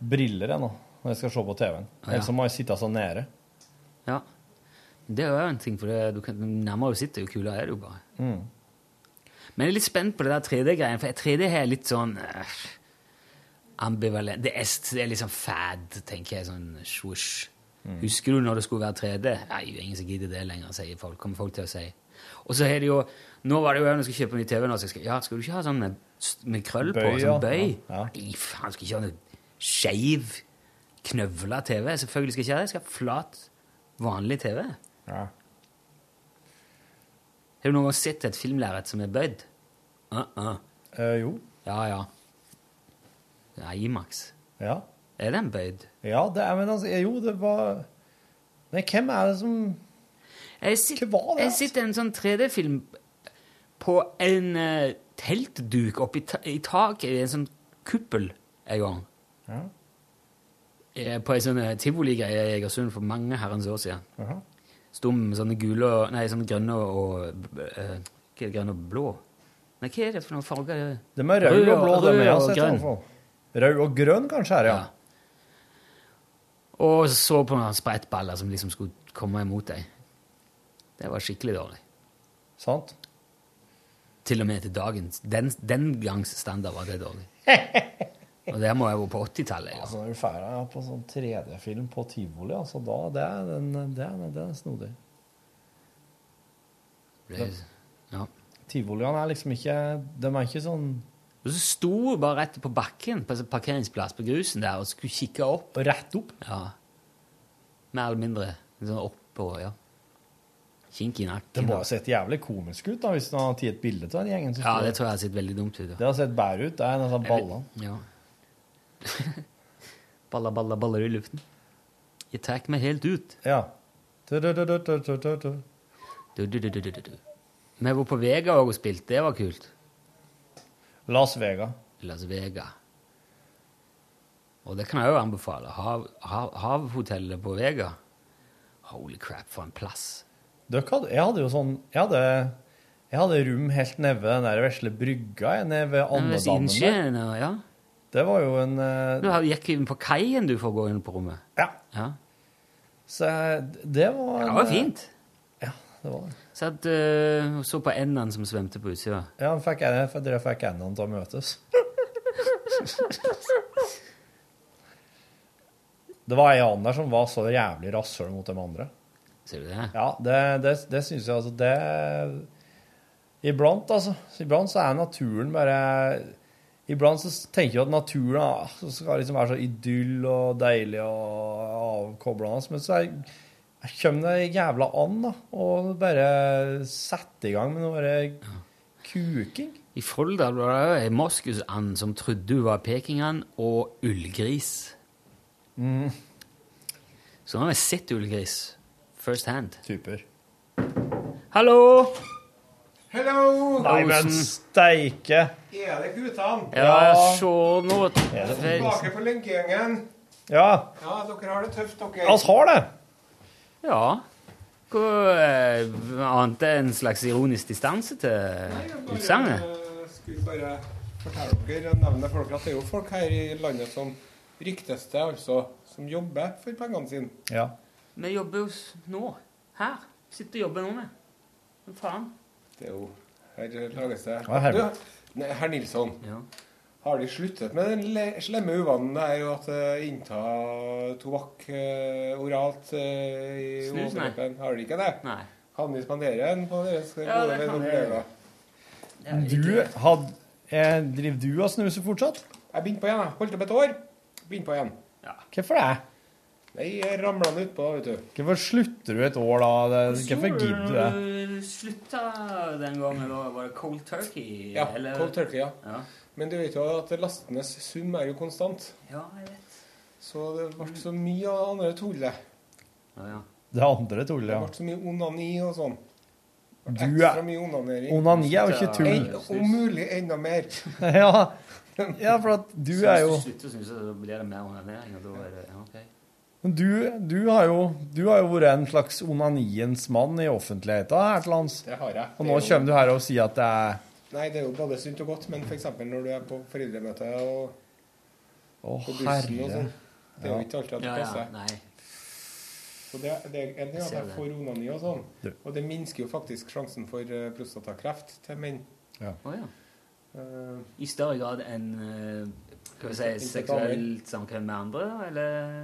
briller jeg nå, når jeg skal se på TV-en. Ja. Ellers så må jeg sitte sånn nede. Ja. Det er jo en ting, for det, du kan, jo nærmere du sitter, jo kulere er det jo bare. Mm. Men jeg er litt spent på det der 3D-greien, for 3D her er litt sånn eh, ambivalent. Det er, det er liksom fad, tenker jeg, sånn swoosh. Mm. Husker du når det skulle være 3D? Nei, jo ingen som gidder det lenger, sier folk. Kommer folk til å si. Og så er det jo Nå var det jo jeg når jeg skulle kjøpe ny TV, nå, så jeg skal, ja, skal du ikke ha sånn med, med krøll på? Bøy, ja. Sånn bøy? Nei, faen, skal ikke ha noe skeiv, knøvla TV. Selvfølgelig skal jeg ikke ha det. Jeg skal ha flat, vanlig TV. Ja. Har du noen gang sett et filmlerret som er bøyd? Uh -uh. Eh, jo. Ja, ja. Det er Imax. Ja. Er den bøyd? Ja, det er, men altså, jo, det var Nei, hvem er det som Jeg sitter, det, jeg sitter i en sånn 3D-film på en eh, teltduk oppe i, ta i taket i en sånn kuppel en gang. Ja. Eh, På ei sånn eh, tivoligreie i Egersund for mange herrens år siden. Jaha. Sto med sånne gule og- Nei, sånne grønne og eh, Hva er det, grønne og blå? Nei, hva er det for noen farger? De er rød og blå, de rød jeg har og sett. i grønn. hvert fall. Rød og grønn, kanskje, er det, ja. Og så på noen sprettballer som liksom skulle komme imot deg. Det var skikkelig dårlig. Sant. Til og med til dagens Den, den gangs standard var det dårlig. Og det må jeg være på 80-tallet. ja. Altså, når du feirer ja, på sånn 3D-film på tivoli, altså, da Det er, den, det er, det er snodig. Det- Ja. Tivoliene er liksom ikke De er ikke sånn Og så sto jeg bare rett på bakken på en sånn parkeringsplass på grusen der og skulle kikke opp. Rett opp? Ja. Mer eller mindre. Sånn oppå, ja. Kink i nakken. Det må ha og- sett jævlig komisk ut da, hvis du har tatt et bilde av den gjengen. som Ja, står- det tror jeg har sett veldig dumt ut. Ja. Det har sett bære ut. Det er nesten ballene. Ja. baller, baller, baller i luften. Jeg tar meg helt ut. Ja. Du-du-du-du-du-du-du. Du, du, du, du, du, du. Vi var på Vega også og spilte. Det var kult. Las Vega. Las Vega. Og det kan jeg jo anbefale. Hav, hav, havhotellet på Vega. Holy crap, for en plass. Dere hadde, jeg hadde jo sånn Jeg hadde, jeg hadde rom helt nede ved den der vesle brygga, jeg, nede ved Nei, men hvis andedammen der. innsjøen, ja. Det var jo en eh, Du har- gikk inn på kaien du for å gå inn på rommet. Ja. ja. Så jeg- det var Det en, var eh, fint. Det var det. Satt eh, og så på endene som svømte på utsida. Ja, han fikk, jeg, for dere fikk endene til å møtes. Det var ei annen der som var så jævlig rasshøl mot de andre. Ser du det? Ja, det, det, det syns jeg altså Det Iblant, altså. Iblant så er naturen bare Iblant så tenker jeg at naturen ah, så skal liksom være så idyll og deilig og avkoblende, men så er, kommer det jævla an, da, og bare setter i gang med noe bare kuking. I Folda var det òg ei moskusand som trodde hun var pekingand, og ullgris. Mm. Så nå har jeg sett ullgris first hand. Typer. Hallo! Hello! Nei, men steike! Er det guttene? Ja, se nå Er det Tilbake på Lynggangen. Ja, Ja, dere har det tøft, dere. oss har det! Ja. Hvor eh, annet enn en slags ironisk distanse til utsagnet? Jeg eh, skulle bare fortelle dere og nevne folk at det er jo folk her i landet som ryktes det, altså. Som jobber for pengene sine. Ja. Vi jobber jo s- nå. Her. Sitter og jobber nå med. Men faen. Det er jo Her lages det Ja, her. Du, Nei, herr Nilsson. Har de sluttet med den le- slemme uvanen det er jo at eh, innta tobakk eh, oralt eh, i Snus, nei. overkroppen? Har de ikke det? Nei. Kan vi spandere en på deres Ja, det gode kan vi. kollegaer? Du, had, eh, driver du og snuser fortsatt? Jeg begynte på igjen. jeg. Holdt opp et år. Begynte på igjen. Hvorfor det? Nei, jeg ramla nå utpå, vet du. Hvorfor slutter du et år da? Det- Hvorfor gidder du det? Slutta den gangen da? Var det cold turkey? Ja, eller? cold turkey, ja. Ja. Men du vet jo at lastenes sum er jo konstant. Ja, jeg vet. Så det ble så mye av det andre tullet. Det andre tullet, Det ja. ble så mye onani og sånn. Det ble Du er- Ekstra mye onanering. Onani er jo ikke tull. En- Om mulig enda mer. ja. ja, for at du Så hvis er jo du slutter å snuse, så blir det mer onanering. og da er det- ja, ok. Men du, du, har jo, du har jo vært en slags onaniens mann i offentligheten her til lands. Det har jeg. Og nå kommer du her og sier at det er Nei, det er jo både sunt og godt, men f.eks. når du er på foreldremøte og Å, på bussen og herre. sånn. Det er jo Ja. ikke alltid at det Ja, ja, passer. Så det, det er en ting at ser jeg det. får onani og sånn, Du. og det minsker jo faktisk sjansen for eh, prostatakreft til menn. Ja. Å, ja. Eh, I større grad enn eh, skal vi si, seksuelt samkvem med andre, da, eller?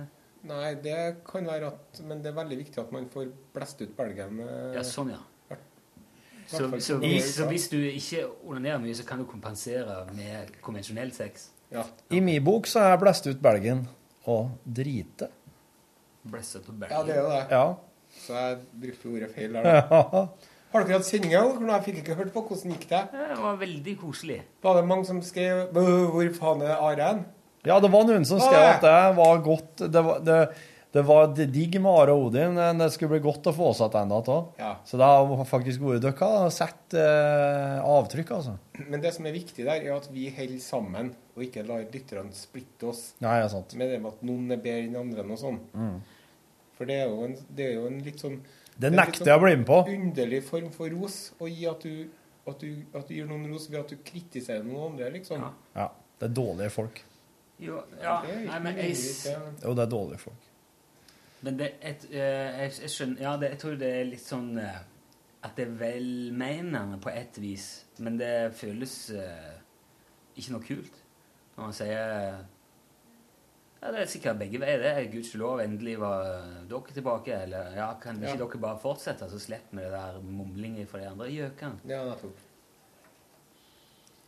Nei, det kan være at Men det er veldig viktig at man får blest ut belgen. eh, Ja, sånn, ja. i hvert Så, fall så, på hvis, USA. så hvis du ikke onanerer mye, så kan du kompensere med konvensjonell sex? I min bok så er blæst ut belgen og drite. Blesset på belgen. Ja, det er jo det. Ja. Så jeg brukte ordet feil der, da. Ja. Har dere hatt sendinger? Hvordan- Jeg fikk ikke hørt på. Hvordan gikk det? Det var veldig koselig. Var det mange som skrev «Bø, 'Hvor faen er Aren?' Ja, det var noen som skrev at det var godt Det var, det, det var det digg med Are og Odin, men det skulle bli godt å få satt enda til. Så det har faktisk vært dere har sett eh, avtrykk, altså. Men det som er viktig der, er at vi holder sammen, og ikke lar lytterne splitte oss Nei, det er sant. med det med at noen er bedre enn andre og sånn. Mm. For det er jo en, det er jo en litt sånn Det er en nekter litt jeg å bli med på. underlig form for ros å gi at du, at, du, at du gir noen ros ved at du kritiserer noen andre, liksom. Ja, det er dårlige folk. Jo, ja, Det er ikke nei, men jeg, nødvendigvis, ja. Jo, det er dårlige folk. men det, er et, eh, jeg, jeg skjønner Ja, det, jeg tror det er litt sånn eh, at det er velmenende på ett vis, men det føles eh, ikke noe kult når man sier eh, Ja, det er sikkert begge veier. Det er gudskjelov, endelig var dere tilbake. Eller ja, kan ikke Ja. dere bare fortsette, så slipper vi det der mumlingen fra de andre gjøkene? Ja, nettopp.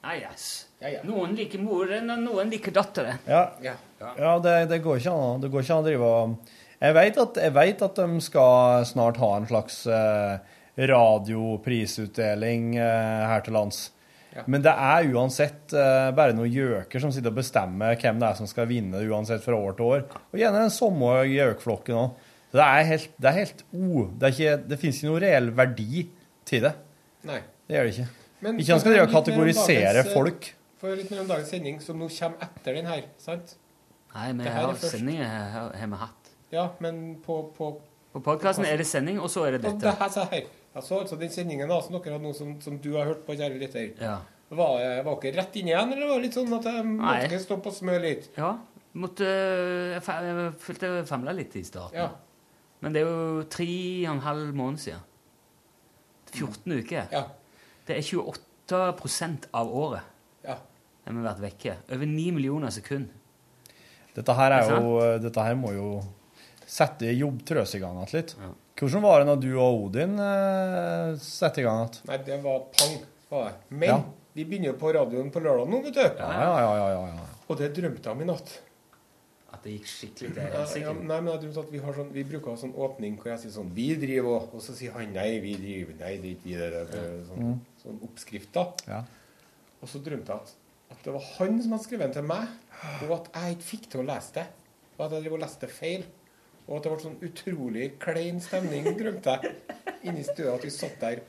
Ah, yes. Noen liker moren, og noen liker datteren. Ja, ja. det, det går ikke an. å- Det går ikke an å drive og Jeg vet at, jeg vet at de skal snart ha en slags eh, radioprisutdeling eh, her til lands. Ja. Men det er uansett eh, bare noen gjøker som sitter og bestemmer hvem det er som skal vinne, uansett fra år til år. Og gjerne den samme gjøkflokken òg. Det er helt, det er helt o... det, er ikke, det finnes ikke noen reell verdi til det. Nei. Det gjør det ikke. Men- ikke han skal men litt drive og mer om kategorisere dagens, eh, folk. For litt mer om dagens sending, som nå kommer etter den her, sant? Nei, vi Det her er har først. sendinger her- her har vi hatt. Ja, men på, på På podkasten er det sending, og så er det Og dette. her, se her. Jeg så altså den sendingen da, som dere hadde nå, som, som du har hørt på, kjære lytter. Ja. Var, jeg- var dere rett inne igjen, eller var det litt sånn at jeg Nei. måtte stoppe og smøre litt? Ja. Måtte, jeg fa- jeg følte jeg famla litt i starten. Ja. Men det er jo tre og en halv måned siden. 14 uker. Det er 28 av året. Ja. Har vi vært vekke. Over 9 millioner sekund. Dette her, Ikke er sant? jo, dette her må jo sette jobb trøs i gang igjen litt. Hvordan var det når du og Odin eh, satte i gang igjen? Nei, det var pang. Var det. Men Ja. vi begynner jo på radioen på lørdag nå, vet du. Ja, ja, ja, ja, ja, ja. Og det drømte jeg om i natt. At det gikk skikkelig til Ja, ja, helsike. nei, men jeg drømte at vi, har sånn, vi bruker å ha sånn åpning hvor jeg sier sånn Vi driver og Og så sier han nei, vi driver Nei, det er ikke vi det der. det er Sånn, Mm. sånn oppskrift, da. Ja. Og så drømte jeg at, at det var han som hadde skrevet den til meg, og at jeg ikke fikk til å lese det. Og at jeg drev og leste det feil. Og at det ble sånn utrolig klein stemning, drømte jeg, inni stua at vi satt der.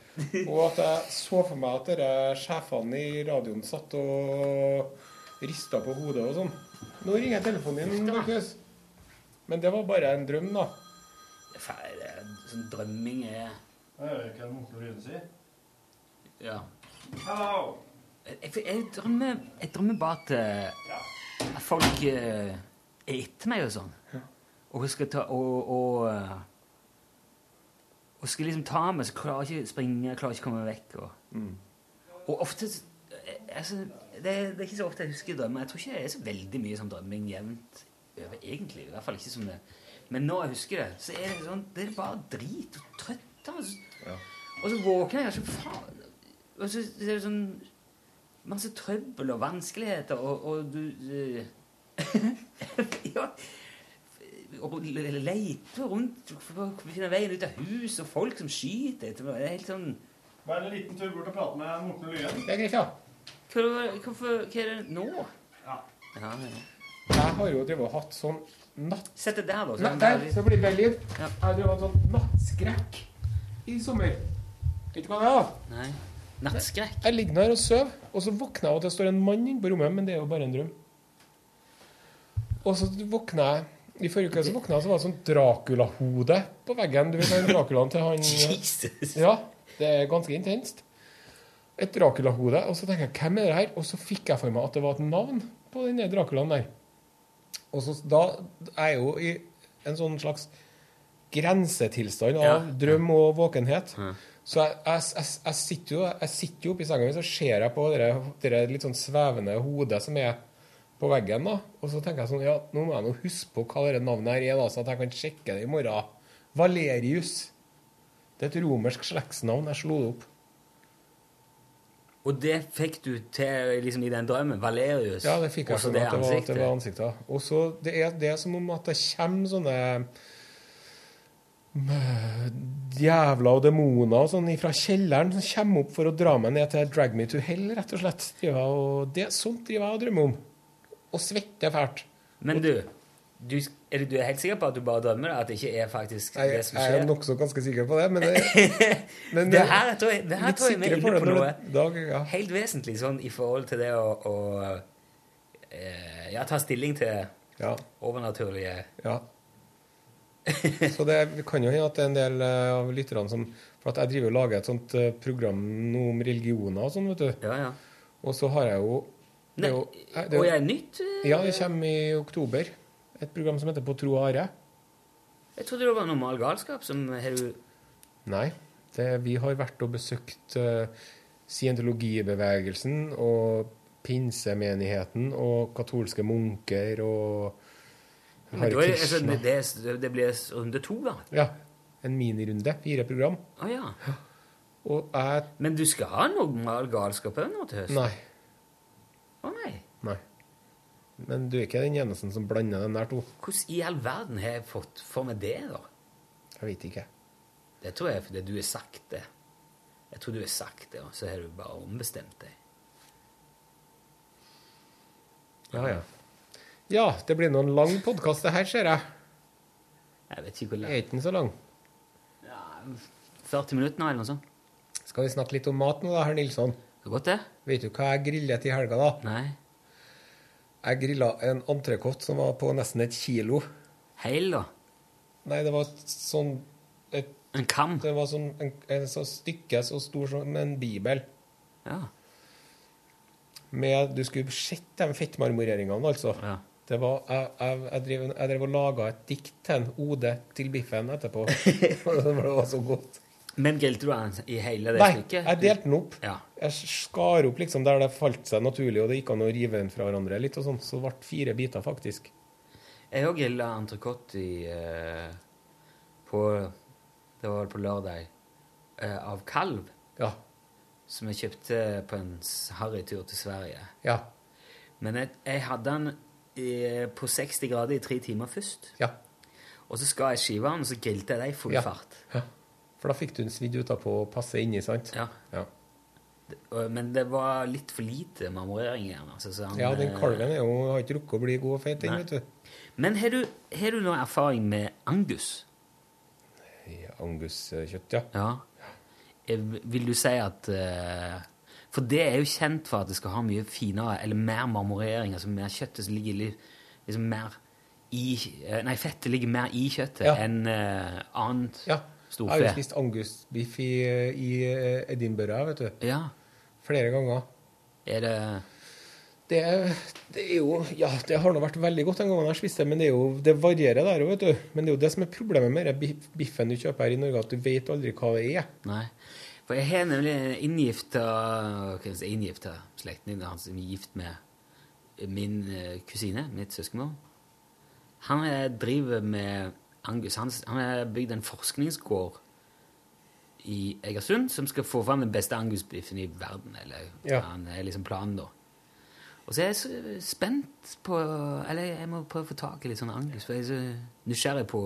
Og at jeg så for meg at dere sjefene i radioen satt og rista på hodet og sånn. Nå ringer telefonen din, Markus. Men det var bare en drøm, da. Faen, det er- Sånn drømming er Ja. Hello. Jeg, jeg, jeg, drømmer, jeg drømmer bare at, eh, at folk eh, er etter meg og sånn. Og skal ta og, og, eh, og skal liksom ta meg, så klarer jeg ikke å springe, klarer ikke å komme meg vekk. Og, og ofte s- eh, altså, det, det er ikke så ofte jeg husker drømmer. Jeg tror ikke det er så veldig mye som drømming jevnt over, egentlig. I hvert fall ikke som det. Men når jeg husker det, så er det sånn Det er bare drit og trøtt. Altså. Og så våkner jeg, og så faen Og så er det sånn masse trøbbel og vanskeligheter, og, og du eh, Ja Og leter rundt for å finne veien ut av hus, og folk som skyter etter meg. Det er helt sånn Bare en liten tur bort og prate med Morten og Lyen. Det er greit, ja. Hva, hvorfor, hva er det nå? Ja, ja. Jeg har jo drevet og hatt sånn natt... Sett det der, da. Nei, der, så blir det mer lyd. Jeg har drevet og hatt sånn nattskrekk i sommer. Vet du hva det er? da? Nei. Nattskrekk? Jeg ligger her og sover, og så våkner jeg av at det står en mann inne på rommet, men det er jo bare en drøm. Og så våkna jeg I forrige uke så våkna jeg, så var det sånn Dracula-hode på veggen. Du vet den Draculaen til han Jesus! Ja. Det er ganske intenst. Et Dracula-hode. Og så tenker jeg, hvem er det her? Og så fikk jeg for meg at det var et navn på den der Draculaen der. Og så da er jeg jo i en sånn slags grensetilstand av Ja. drøm og våkenhet. Så jeg, jeg, jeg, jeg sitter jo jeg sitter jo oppe i senga mi, så ser jeg på det der litt sånn svevende hodet som er på veggen, da. Og så tenker jeg sånn Ja, nå må jeg nå huske på hva det navnet her er, da, så at jeg kan sjekke det i morgen. Valerius. Det er et romersk slektsnavn. Jeg slo det opp. Og det fikk du til liksom, i den drømmen? Valerius? Ja, det fikk jeg Også sånn det at det var, at det var ansiktet. ansiktet. Og så det er det er som om at det kommer sånne mm, Djevler og demoner og sånn fra kjelleren som kommer opp for å dra meg ned til Drag me to hell, rett og slett. Driver jeg og- Det, sånt driver jeg og drømmer om. Og svetter fælt. Men du, du, er, du du er helt sikker på at du bare drømmer det? At det ikke er faktisk Jeg, det som jeg er skjer? nokså ganske sikker på det, men det, men det her tror jeg, det her litt tror jeg vi er sikre på inne det på når noe det- dag, ja. helt vesentlig sånn i forhold til det å, å eh, ja, ta stilling til overnaturlige Ja. Så det det kan jo hende at det er en del eh, av lytterne som For at jeg driver og lager et sånt eh, program nå om religioner og sånn, vet du. Og så har jeg jo det er jo- eh, det er jo- Og jeg er nytt? eh, Ja, det kommer i oktober. Et program som heter På tro og are. Jeg trodde det var normal galskap som har du Nei. Det, vi har vært og besøkt eh, scientologibevegelsen og pinsemenigheten og katolske munker og Men Hare da er det- altså, Krishna. det, det, det blir runde to, da. Ja. En minirunde. Fire program. Å ja. Og jeg Men du skal ha normal galskap òg nå til høsten? Nei. Å nei. Nei. Men du er ikke den eneste som blander dem der to. Hvordan i all verden har jeg fått for meg det, da? Jeg vet ikke. Det tror jeg er fordi du har sagt det. Jeg tror du har sagt det, og så har du bare ombestemt deg. Ja, ja. Ja, det blir nå en lang podkast, det her, ser jeg. Jeg vet ikke hvor Er ikke den så lang? Ja, 40 minutter nå, eller noe sånt. Skal vi snakke litt om mat nå, da, herr Nilsson? Så godt det. Vet du hva jeg grillet til helga, da? Nei. Jeg grilla en entrecôte som var på nesten et kilo. Heil, da? Nei, det var sånn et, En kam? Det var sånn en, en sånn stykke så stor som en bibel. Ja. Med, du skulle sett de fettmarmoreringene, altså. Det var, jeg, jeg, jeg, drev, jeg drev og laga et dikt til en ode til biffen etterpå. For det var så godt. Men grilte du den i hele det Nei, stykket? jeg delte den opp. Ja. Jeg skar opp liksom der det falt seg naturlig, og det gikk an å rive den fra hverandre litt. og sånn, Så det ble fire biter, faktisk. Jeg òg grilla entrecôte i eh, på Det var vel på lørdag. eh, av kalv. Ja. Som jeg kjøpte på en s- harry tur til Sverige. Ja. Men jeg, jeg hadde den i, på 60 grader i tre timer først. Ja. Og så skar jeg skivene, og så grilte jeg dem i full Ja. fart. Ja. For da fikk du den svidd utapå og passe inni, sant? Ja. Ja. Og- Men det var litt for lite marmorering i den. Altså, så han, Ja, den eh, kalven er jo, har ikke rukket å bli god og feit, den, Nei. vet du. eh, Men har du, har du noe erfaring med angus? Anguskjøtt, ja. Eh, Vil du si at eh, For det er jo kjent for at det skal ha mye finere eller mer marmorering, altså mer kjøttet som ligger li- liksom mer i eh, Nei, fettet ligger mer i kjøttet Ja. enn eh, annet Jeg har jo storfe. spist angusbiff i, eh, i Edinburgh, vet du. Ja. Flere ganger. Er det Det, er- det er jo Ja, det har nå vært veldig godt den gangen jeg spiste, men det, er jo, det varierer der òg, vet du. Men det er jo det som er problemet med den biff- biffen du kjøper her i Norge, at du vet aldri hva det er. Nei. For jeg har nemlig en inngifta hva skal jeg si, inngifta slektning han som er gift med min eh, kusine, mitt søskenbarn. Han eh, driver med Angus. Han, s- han har bygd en forskningsgård i Egersund som skal få fram den beste angusbiffen i verden. Eller Ja. han er liksom planen, da. Og så er jeg så spent på Eller jeg må prøve å få tak i litt sånn angus, for jeg er så nysgjerrig på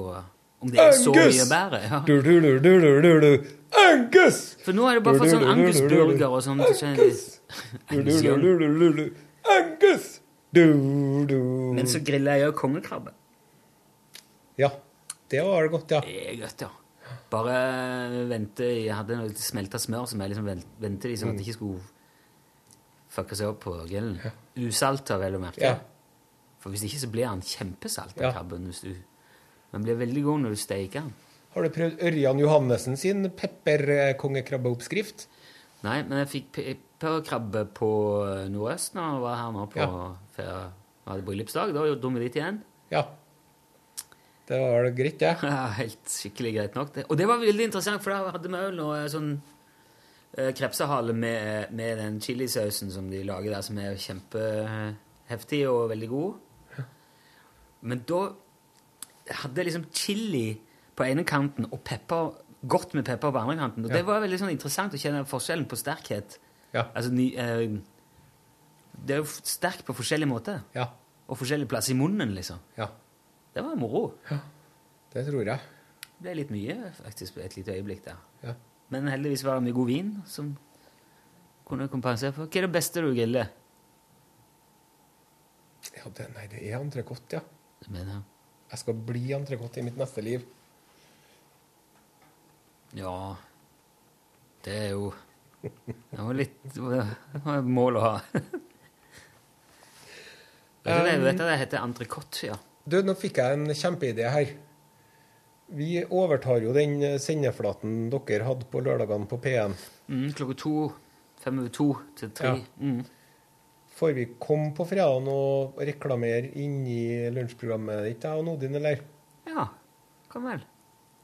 om det er så mye bedre. Ja. Du, du, du, du, du, du, du. Angus! For nå er det bare for sånn Angus-burger og sånn. du skjønner. Du, du, du, du, du, du, du. Angus! Du, du. Men så griller jeg jo kongekrabbe. Ja. Det var godt, ja. Det er godt, ja. Bare vente i- Jeg hadde noe litt smelta smør som jeg liksom ven- ventet i, sånn at det ikke skulle fucke seg opp på grillen. Usalta, vel å merke. Ja. For hvis ikke så blir han kjempesalt, den Ja. krabben. Hvis du, den blir veldig god når du steker den. Har du prøvd Ørjan Johannessen sin pepperkongekrabbeoppskrift? Nei, men jeg fikk pepperkrabbe på eh, Nordøst når jeg var her nå på Ja. ferie. Vi hadde bryllupsdag, da dro vi dit igjen. Ja. Det var det greit, det. Ja. Helt skikkelig greit nok. Det. Og det var veldig interessant, for da hadde vi òg noe sånn eh, krepsehale med, med den chilisausen som de lager der, som er kjempeheftig og veldig god. Men da hadde jeg liksom chili på ene kanten og pepper, godt med pepper på andre kanten. Og Ja. det var veldig sånn interessant å kjenne forskjellen på sterkhet. Altså, ny, eh, det er jo f- sterk på forskjellige måter. Og forskjellig plass i munnen, liksom. Det var moro. Det tror jeg. Det ble litt mye, faktisk, på et lite øyeblikk der. Ja. Men heldigvis var det mye god vin som kunne kompensere for. Hva er det beste du griller? Ja, det, nei, det er entrecôte, ja. Det mener jeg. Jeg skal bli entrecôte i mitt neste liv. Ja, det er jo Det var litt det var et mål å ha. Vet du det, Um, vet du det heter entrecôte? Ja. Du, nå fikk jeg en kjempeidé her. Vi overtar jo den eh, sendeflaten dere hadde på lørdagene på P1. Mm, klokka to. Fem over to til tre. Ja. Mm. Får vi komme på fredagen og reklamere inni lunsjprogrammet ditt, jeg og Nodin, eller? Ja, kom vel.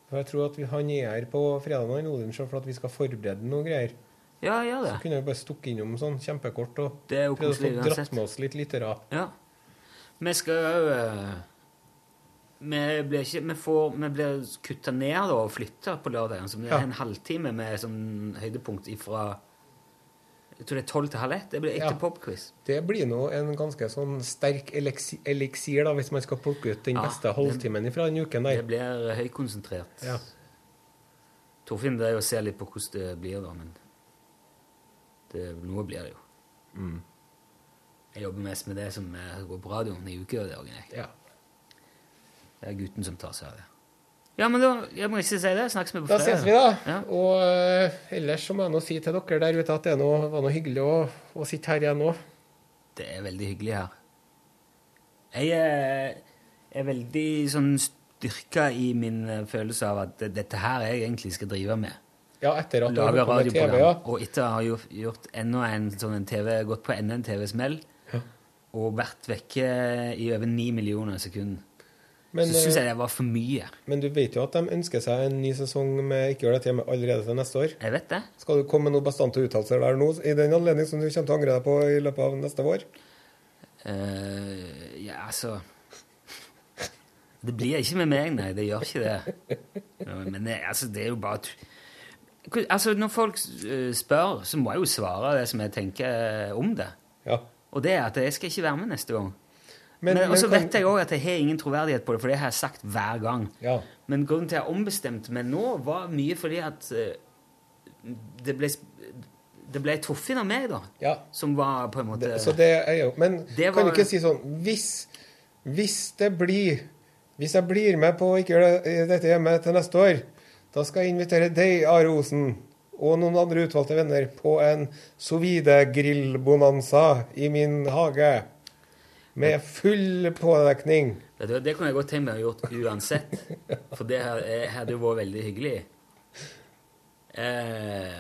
For jeg tror at vi, han er her på fredagen, han Nodin, så for at vi skal forberede noe greier. Ja, gjør det. Så kunne vi bare stukket innom sånn kjempekort og Det er jo prøvd å få koselig uansett. dratt med oss litt lyttere. Ja. Vi skal jo eh, Vi blir ikke Vi får Vi blir kutta ned da, og flytta på lørdagen. Så det er Ja. en halvtime med sånn høydepunkt ifra Jeg tror det er tolv til halv ett. Det blir etter Ja. popquiz. Det blir nå en ganske sånn sterk eliksi- eliksir, da, hvis man skal plukke ut den Ja, beste det- halvtimen ifra den uken Det der. blir høykonsentrert. Ja. Torfinn drev og ser litt på hvordan det blir, da, men det, noe blir det jo. Mm. Jeg jobber mest med det som eh, går på radioen i ukedagen. jeg. Det er gutten som tar seg av det. Ja, men da Jeg må ikke si det. Snakkes vi på Da fredag. ses vi, da. Og eh, ellers så må jeg nå si til dere der ute at det er noe, var noe hyggelig å, å sitte her igjen nå. Det er veldig hyggelig her. Jeg er, er veldig sånn styrka i min eh, følelse av at det- dette her jeg egentlig skal drive med. Ja, etter at du har Lage holdt på med TV, radioprogram. ja. Og etter å ha gjort, gjort enda en sånn en TV, gått på enda en TV-smell og vært vekke i over ni millioner sekunder, Men, så syns jeg eh, det var for mye. Men du vet jo at de ønsker seg en ny sesong med Ikke gjør dette hjemme allerede til neste år. Jeg vet det. Skal du komme med noen bastante uttalelser der nå i den anledning som du kommer til å angre deg på i løpet av neste vår? Eh, ja, altså Det blir ikke med meg, nei. Det gjør ikke det. Men det, altså, det er jo bare tu- Hvor- Altså, Når folk eh, spør, så må jeg jo svare det som jeg tenker eh, om det. Og det er at jeg skal ikke være med neste gang. Men- Men, men også kan- vet jeg òg at jeg har ingen troverdighet på det, for det har jeg sagt hver gang. Men grunnen til at jeg ombestemte meg nå, var mye fordi at eh, det ble, sp- det ble Torfinn av meg, da, som var på en måte Det, så det er jo Men Det kan var- du ikke si sånn Hvis, hvis det blir Hvis jeg blir med på Ikke gjør det- eh, dette hjemme til neste år, da skal jeg invitere deg, Are Osen, og noen andre utvalgte venner på en sovide-grillbonanza i min hage. Med full pådekning. Vet du, hva, det kunne jeg godt tenkt meg å gjort uansett. For det her- eh, hadde jo vært veldig hyggelig. Eh,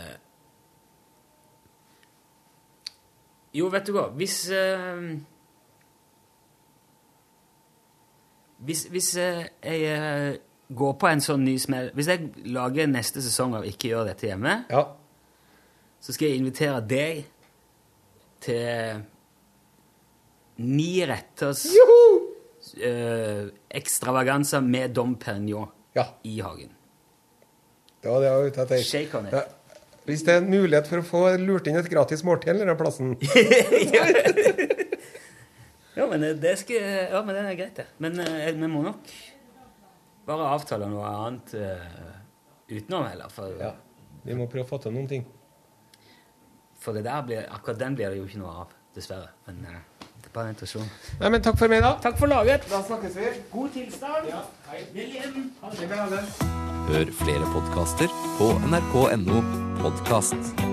jo, vet du hva Hvis eh, Hvis, hvis eh, jeg eh, går på en sånn ny smell Hvis jeg lager neste sesong av Ikke gjør dette hjemme, så skal jeg invitere deg til ni retters eh, ekstravaganser med Dom Perignon i hagen. Det var det jeg var ute etter. Shake on it. Ja. Hvis det er en mulighet for å få lurt inn et gratis måltid eller den plassen. Ja, men eh, det, skal, ja, men det er greit, det. Men eh, vi må nok bare avtale noe annet eh, utenom, heller. For, Vi må prøve å få til noen ting. for det der blir, akkurat den blir det jo ikke noe av, dessverre. Men eh, det er bare en intuisjon. Nei, men takk for meg, da. Takk for laget. Da snakkes vi. God tilstand. Ja, hei. Ha det. Hør flere podkaster på nrk.no podkast.